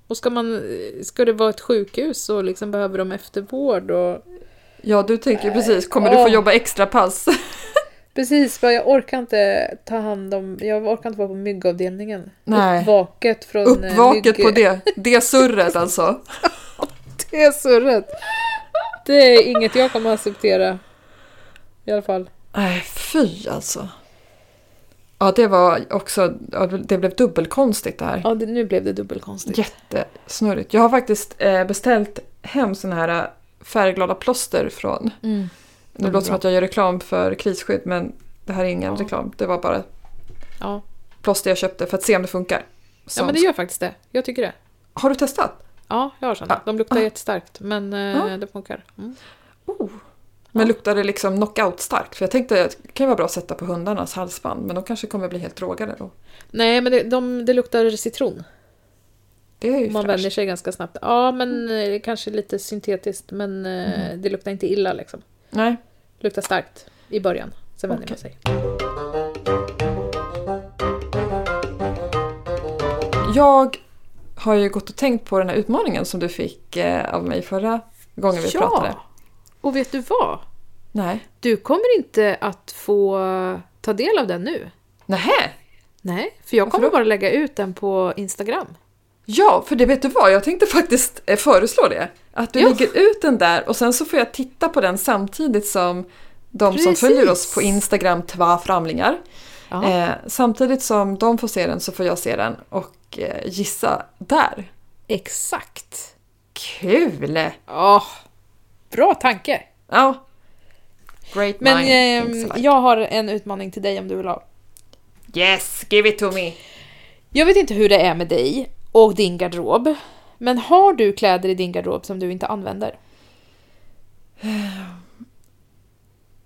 Speaker 1: Och ska man... eh, Ska det vara ett sjukhus och liksom behöver de eftervård och...
Speaker 2: Ja, du tänker precis, kommer du
Speaker 1: åh.
Speaker 2: få jobba extra pass?
Speaker 1: Precis, för jag orkar inte ta hand om... Jag orkar inte vara på myggavdelningen.
Speaker 2: Nej.
Speaker 1: Uppvaket från... eh,
Speaker 2: Uppvaket
Speaker 1: mygg-
Speaker 2: på det, det surret alltså.
Speaker 1: Det är surret. Det är inget jag kommer acceptera. I alla fall.
Speaker 2: Nej, fy alltså. Ja, det var också, ja, det blev dubbelkonstigt det här.
Speaker 1: Ja, det, nu blev det dubbelkonstigt.
Speaker 2: Jättesnurrigt. Jag har faktiskt eh, beställt hem såna här eh, färgglada plåster från...
Speaker 1: Mm.
Speaker 2: Det låter som att jag gör reklam för krisskydd men det här är ingen reklam. Det var bara
Speaker 1: Ja.
Speaker 2: plåster jag köpte för att se om det funkar.
Speaker 1: ja, men det gör faktiskt det. Jag tycker det.
Speaker 2: Har du testat?
Speaker 1: Ja, jag har såna. De luktar jättestarkt, men eh, det funkar. Mm.
Speaker 2: Oh. Men luktar det liksom knockout starkt? För jag tänkte att det kan ju vara bra att sätta på hundarnas halsband men de kanske kommer bli helt drogade då.
Speaker 1: Nej, men det, de, det luktar citron.
Speaker 2: Det är ju
Speaker 1: Man
Speaker 2: fräscht.
Speaker 1: vänjer sig ganska snabbt. Ja, men eh, kanske lite syntetiskt, men eh,
Speaker 2: Mm.
Speaker 1: det luktar inte illa liksom.
Speaker 2: Nej.
Speaker 1: Luktar starkt i början, sen vänjer man
Speaker 2: Okej.
Speaker 1: sig.
Speaker 2: Jag har ju gått och tänkt på den här utmaningen som du fick eh, av mig förra gången vi pratade.
Speaker 1: Och vet du vad?
Speaker 2: Nej.
Speaker 1: Du kommer inte att få ta del av den nu.
Speaker 2: Nähä!
Speaker 1: Nej, för jag kommer bara lägga ut den på Instagram.
Speaker 2: Ja, för det vet du vad, jag tänkte faktiskt eh, föreslå det. Att du
Speaker 1: Ja.
Speaker 2: lägger ut den där och sen så får jag titta på den samtidigt som de som
Speaker 1: Precis.
Speaker 2: följer oss på Instagram, Tva Framlingar.
Speaker 1: Ja.
Speaker 2: Eh, samtidigt som de får se den så får jag se den och eh, gissa där.
Speaker 1: Exakt.
Speaker 2: Kul!
Speaker 1: Ja, bra tanke.
Speaker 2: Ja. Great
Speaker 1: Men
Speaker 2: mind
Speaker 1: ehm,
Speaker 2: thinks alike.
Speaker 1: jag har en utmaning till dig om du vill ha.
Speaker 2: Yes, give it to me!
Speaker 1: Jag vet inte hur det är med dig och din garderob. Men har du kläder i din garderob som du inte använder?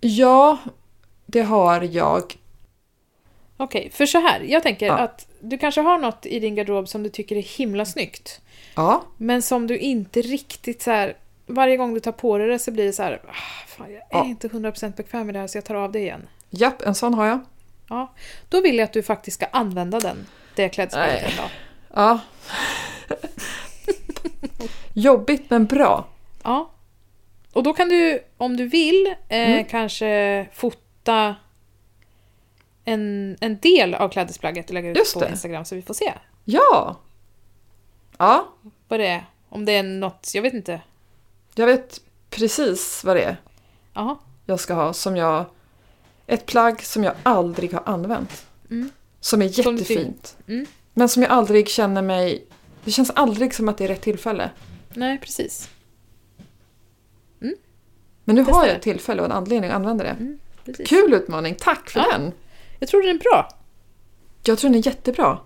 Speaker 2: Ja, det har jag.
Speaker 1: Okej, för så här. Jag tänker
Speaker 2: Ja.
Speaker 1: att du kanske har något i din garderob som du tycker är himla snyggt.
Speaker 2: Ja.
Speaker 1: Men som du inte riktigt så här. Varje gång du tar på dig det så blir det så här. Ah, fan, jag är
Speaker 2: Ja.
Speaker 1: inte 100% bekväm med det här så jag tar av det igen.
Speaker 2: Japp, en sån har jag.
Speaker 1: Ja, då vill jag att du faktiskt ska använda den. Det klädesplagget
Speaker 2: Nej.
Speaker 1: en dag.
Speaker 2: Ja. Jobbigt men bra.
Speaker 1: Ja. Och då kan du, om du vill, eh,
Speaker 2: Mm.
Speaker 1: kanske fota en, en del av klädesplagget och lägga ut
Speaker 2: Just
Speaker 1: på
Speaker 2: det.
Speaker 1: Instagram så vi får se
Speaker 2: Ja! Ja,
Speaker 1: vad det är. Om det är något, jag vet inte.
Speaker 2: jag vet precis vad det är
Speaker 1: Jaha.
Speaker 2: jag ska ha som jag... Ett plagg som jag aldrig har använt. Som är
Speaker 1: Mm. Som du-
Speaker 2: jättefint.
Speaker 1: Mm.
Speaker 2: Men som jag aldrig känner mig... Det känns aldrig som att det är rätt tillfälle.
Speaker 1: Nej, precis.
Speaker 2: Men nu har
Speaker 1: Testa
Speaker 2: jag
Speaker 1: det.
Speaker 2: ett tillfälle och en anledning att använda det.
Speaker 1: precis.
Speaker 2: Kul utmaning, tack för
Speaker 1: Ja.
Speaker 2: den!
Speaker 1: Jag tror den är bra.
Speaker 2: Jag tror den är jättebra.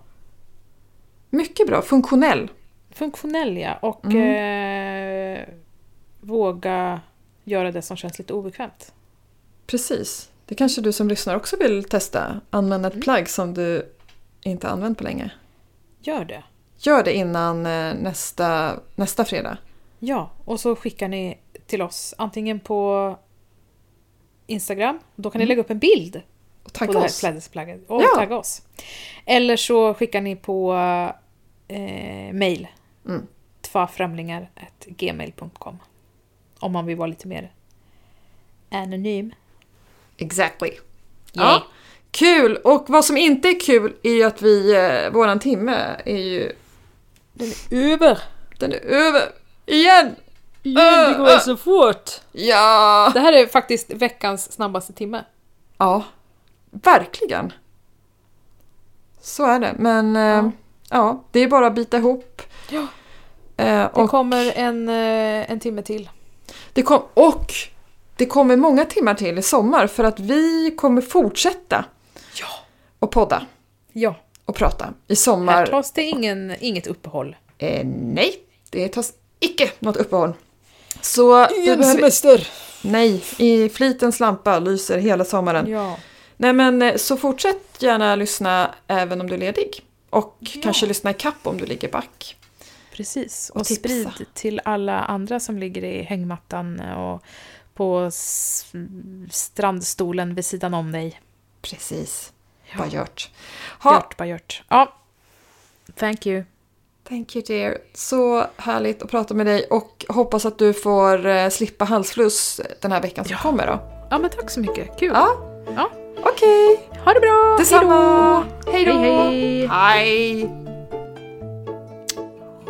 Speaker 2: Mycket bra, funktionell.
Speaker 1: Funktionell ja, och eh, våga göra det som känns lite obekvämt.
Speaker 2: Precis. Det kanske du som lyssnar också vill testa. Använda ett
Speaker 1: Mm.
Speaker 2: plagg som du inte har använt på länge.
Speaker 1: Gör det.
Speaker 2: Gör det innan eh, nästa, nästa fredag.
Speaker 1: Ja, och så skickar ni till oss antingen på Instagram, då kan ni lägga upp en bild
Speaker 2: Och
Speaker 1: på
Speaker 2: tagga
Speaker 1: det här
Speaker 2: oss.
Speaker 1: klädesplagget och
Speaker 2: Ja.
Speaker 1: tagga oss. Eller så skickar ni på eh, mail.
Speaker 2: Mm.
Speaker 1: Tvaframlingar.gmail.com Om man vill vara lite mer anonym.
Speaker 2: Exactly. Ja. Kul! Och vad som inte är kul är ju att vi, eh, våran timme är ju,
Speaker 4: Över!
Speaker 2: den är över. Igen!
Speaker 4: Igen, det går så fort!
Speaker 2: Ja!
Speaker 1: Det här är faktiskt veckans snabbaste timme.
Speaker 2: Ja, verkligen. Så är det. Men eh, ja, det är bara att bita ihop.
Speaker 1: Ja.
Speaker 2: Eh,
Speaker 1: Det
Speaker 2: och
Speaker 1: kommer en, eh, en timme till.
Speaker 2: Det kom, och det kommer många timmar till i sommar för att vi kommer fortsätta och podda
Speaker 1: Ja,
Speaker 2: och prata i
Speaker 1: här
Speaker 2: sommar.
Speaker 1: tas det ingen, inget uppehåll.
Speaker 2: Eh, nej, det tas icke något uppehåll. Så du
Speaker 4: Ingen
Speaker 2: behöver,
Speaker 4: semester!
Speaker 2: nej, i flitens lampa lyser hela sommaren.
Speaker 1: Ja.
Speaker 2: Nej men eh, så fortsätt gärna lyssna även om du är ledig. Och kanske lyssna i kapp om du ligger back.
Speaker 1: Precis,
Speaker 2: Och
Speaker 1: och,
Speaker 2: tipsa.
Speaker 1: sprid till alla andra som ligger i hängmattan och på s- strandstolen vid sidan om dig.
Speaker 2: Precis, bara gjort. Ha,
Speaker 1: Gjort, bara gjort. Ja. Thank you.
Speaker 2: Thank you dear. Så härligt att prata med dig och hoppas att du får eh, slippa halsfluss den här veckan som kommer då.
Speaker 1: Ja, men tack så mycket. Kul.
Speaker 2: Ja.
Speaker 1: Ja.
Speaker 2: Okej,
Speaker 1: Ha det bra!
Speaker 2: detsamma! Hej då!
Speaker 1: Hej, hej!
Speaker 2: hej.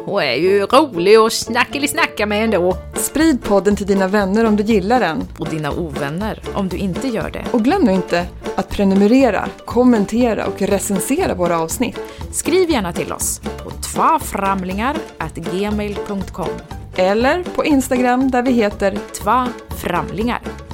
Speaker 1: Hon är ju rolig och snacka med ändå.
Speaker 2: Sprid podden till dina vänner om du gillar den.
Speaker 1: Och dina ovänner om du inte gör det.
Speaker 2: Och glöm nu inte att prenumerera, kommentera och recensera våra avsnitt.
Speaker 1: Skriv gärna till oss på tvaframlingar.gmail.com
Speaker 2: Eller på Instagram där vi heter
Speaker 1: Tva Framlingar.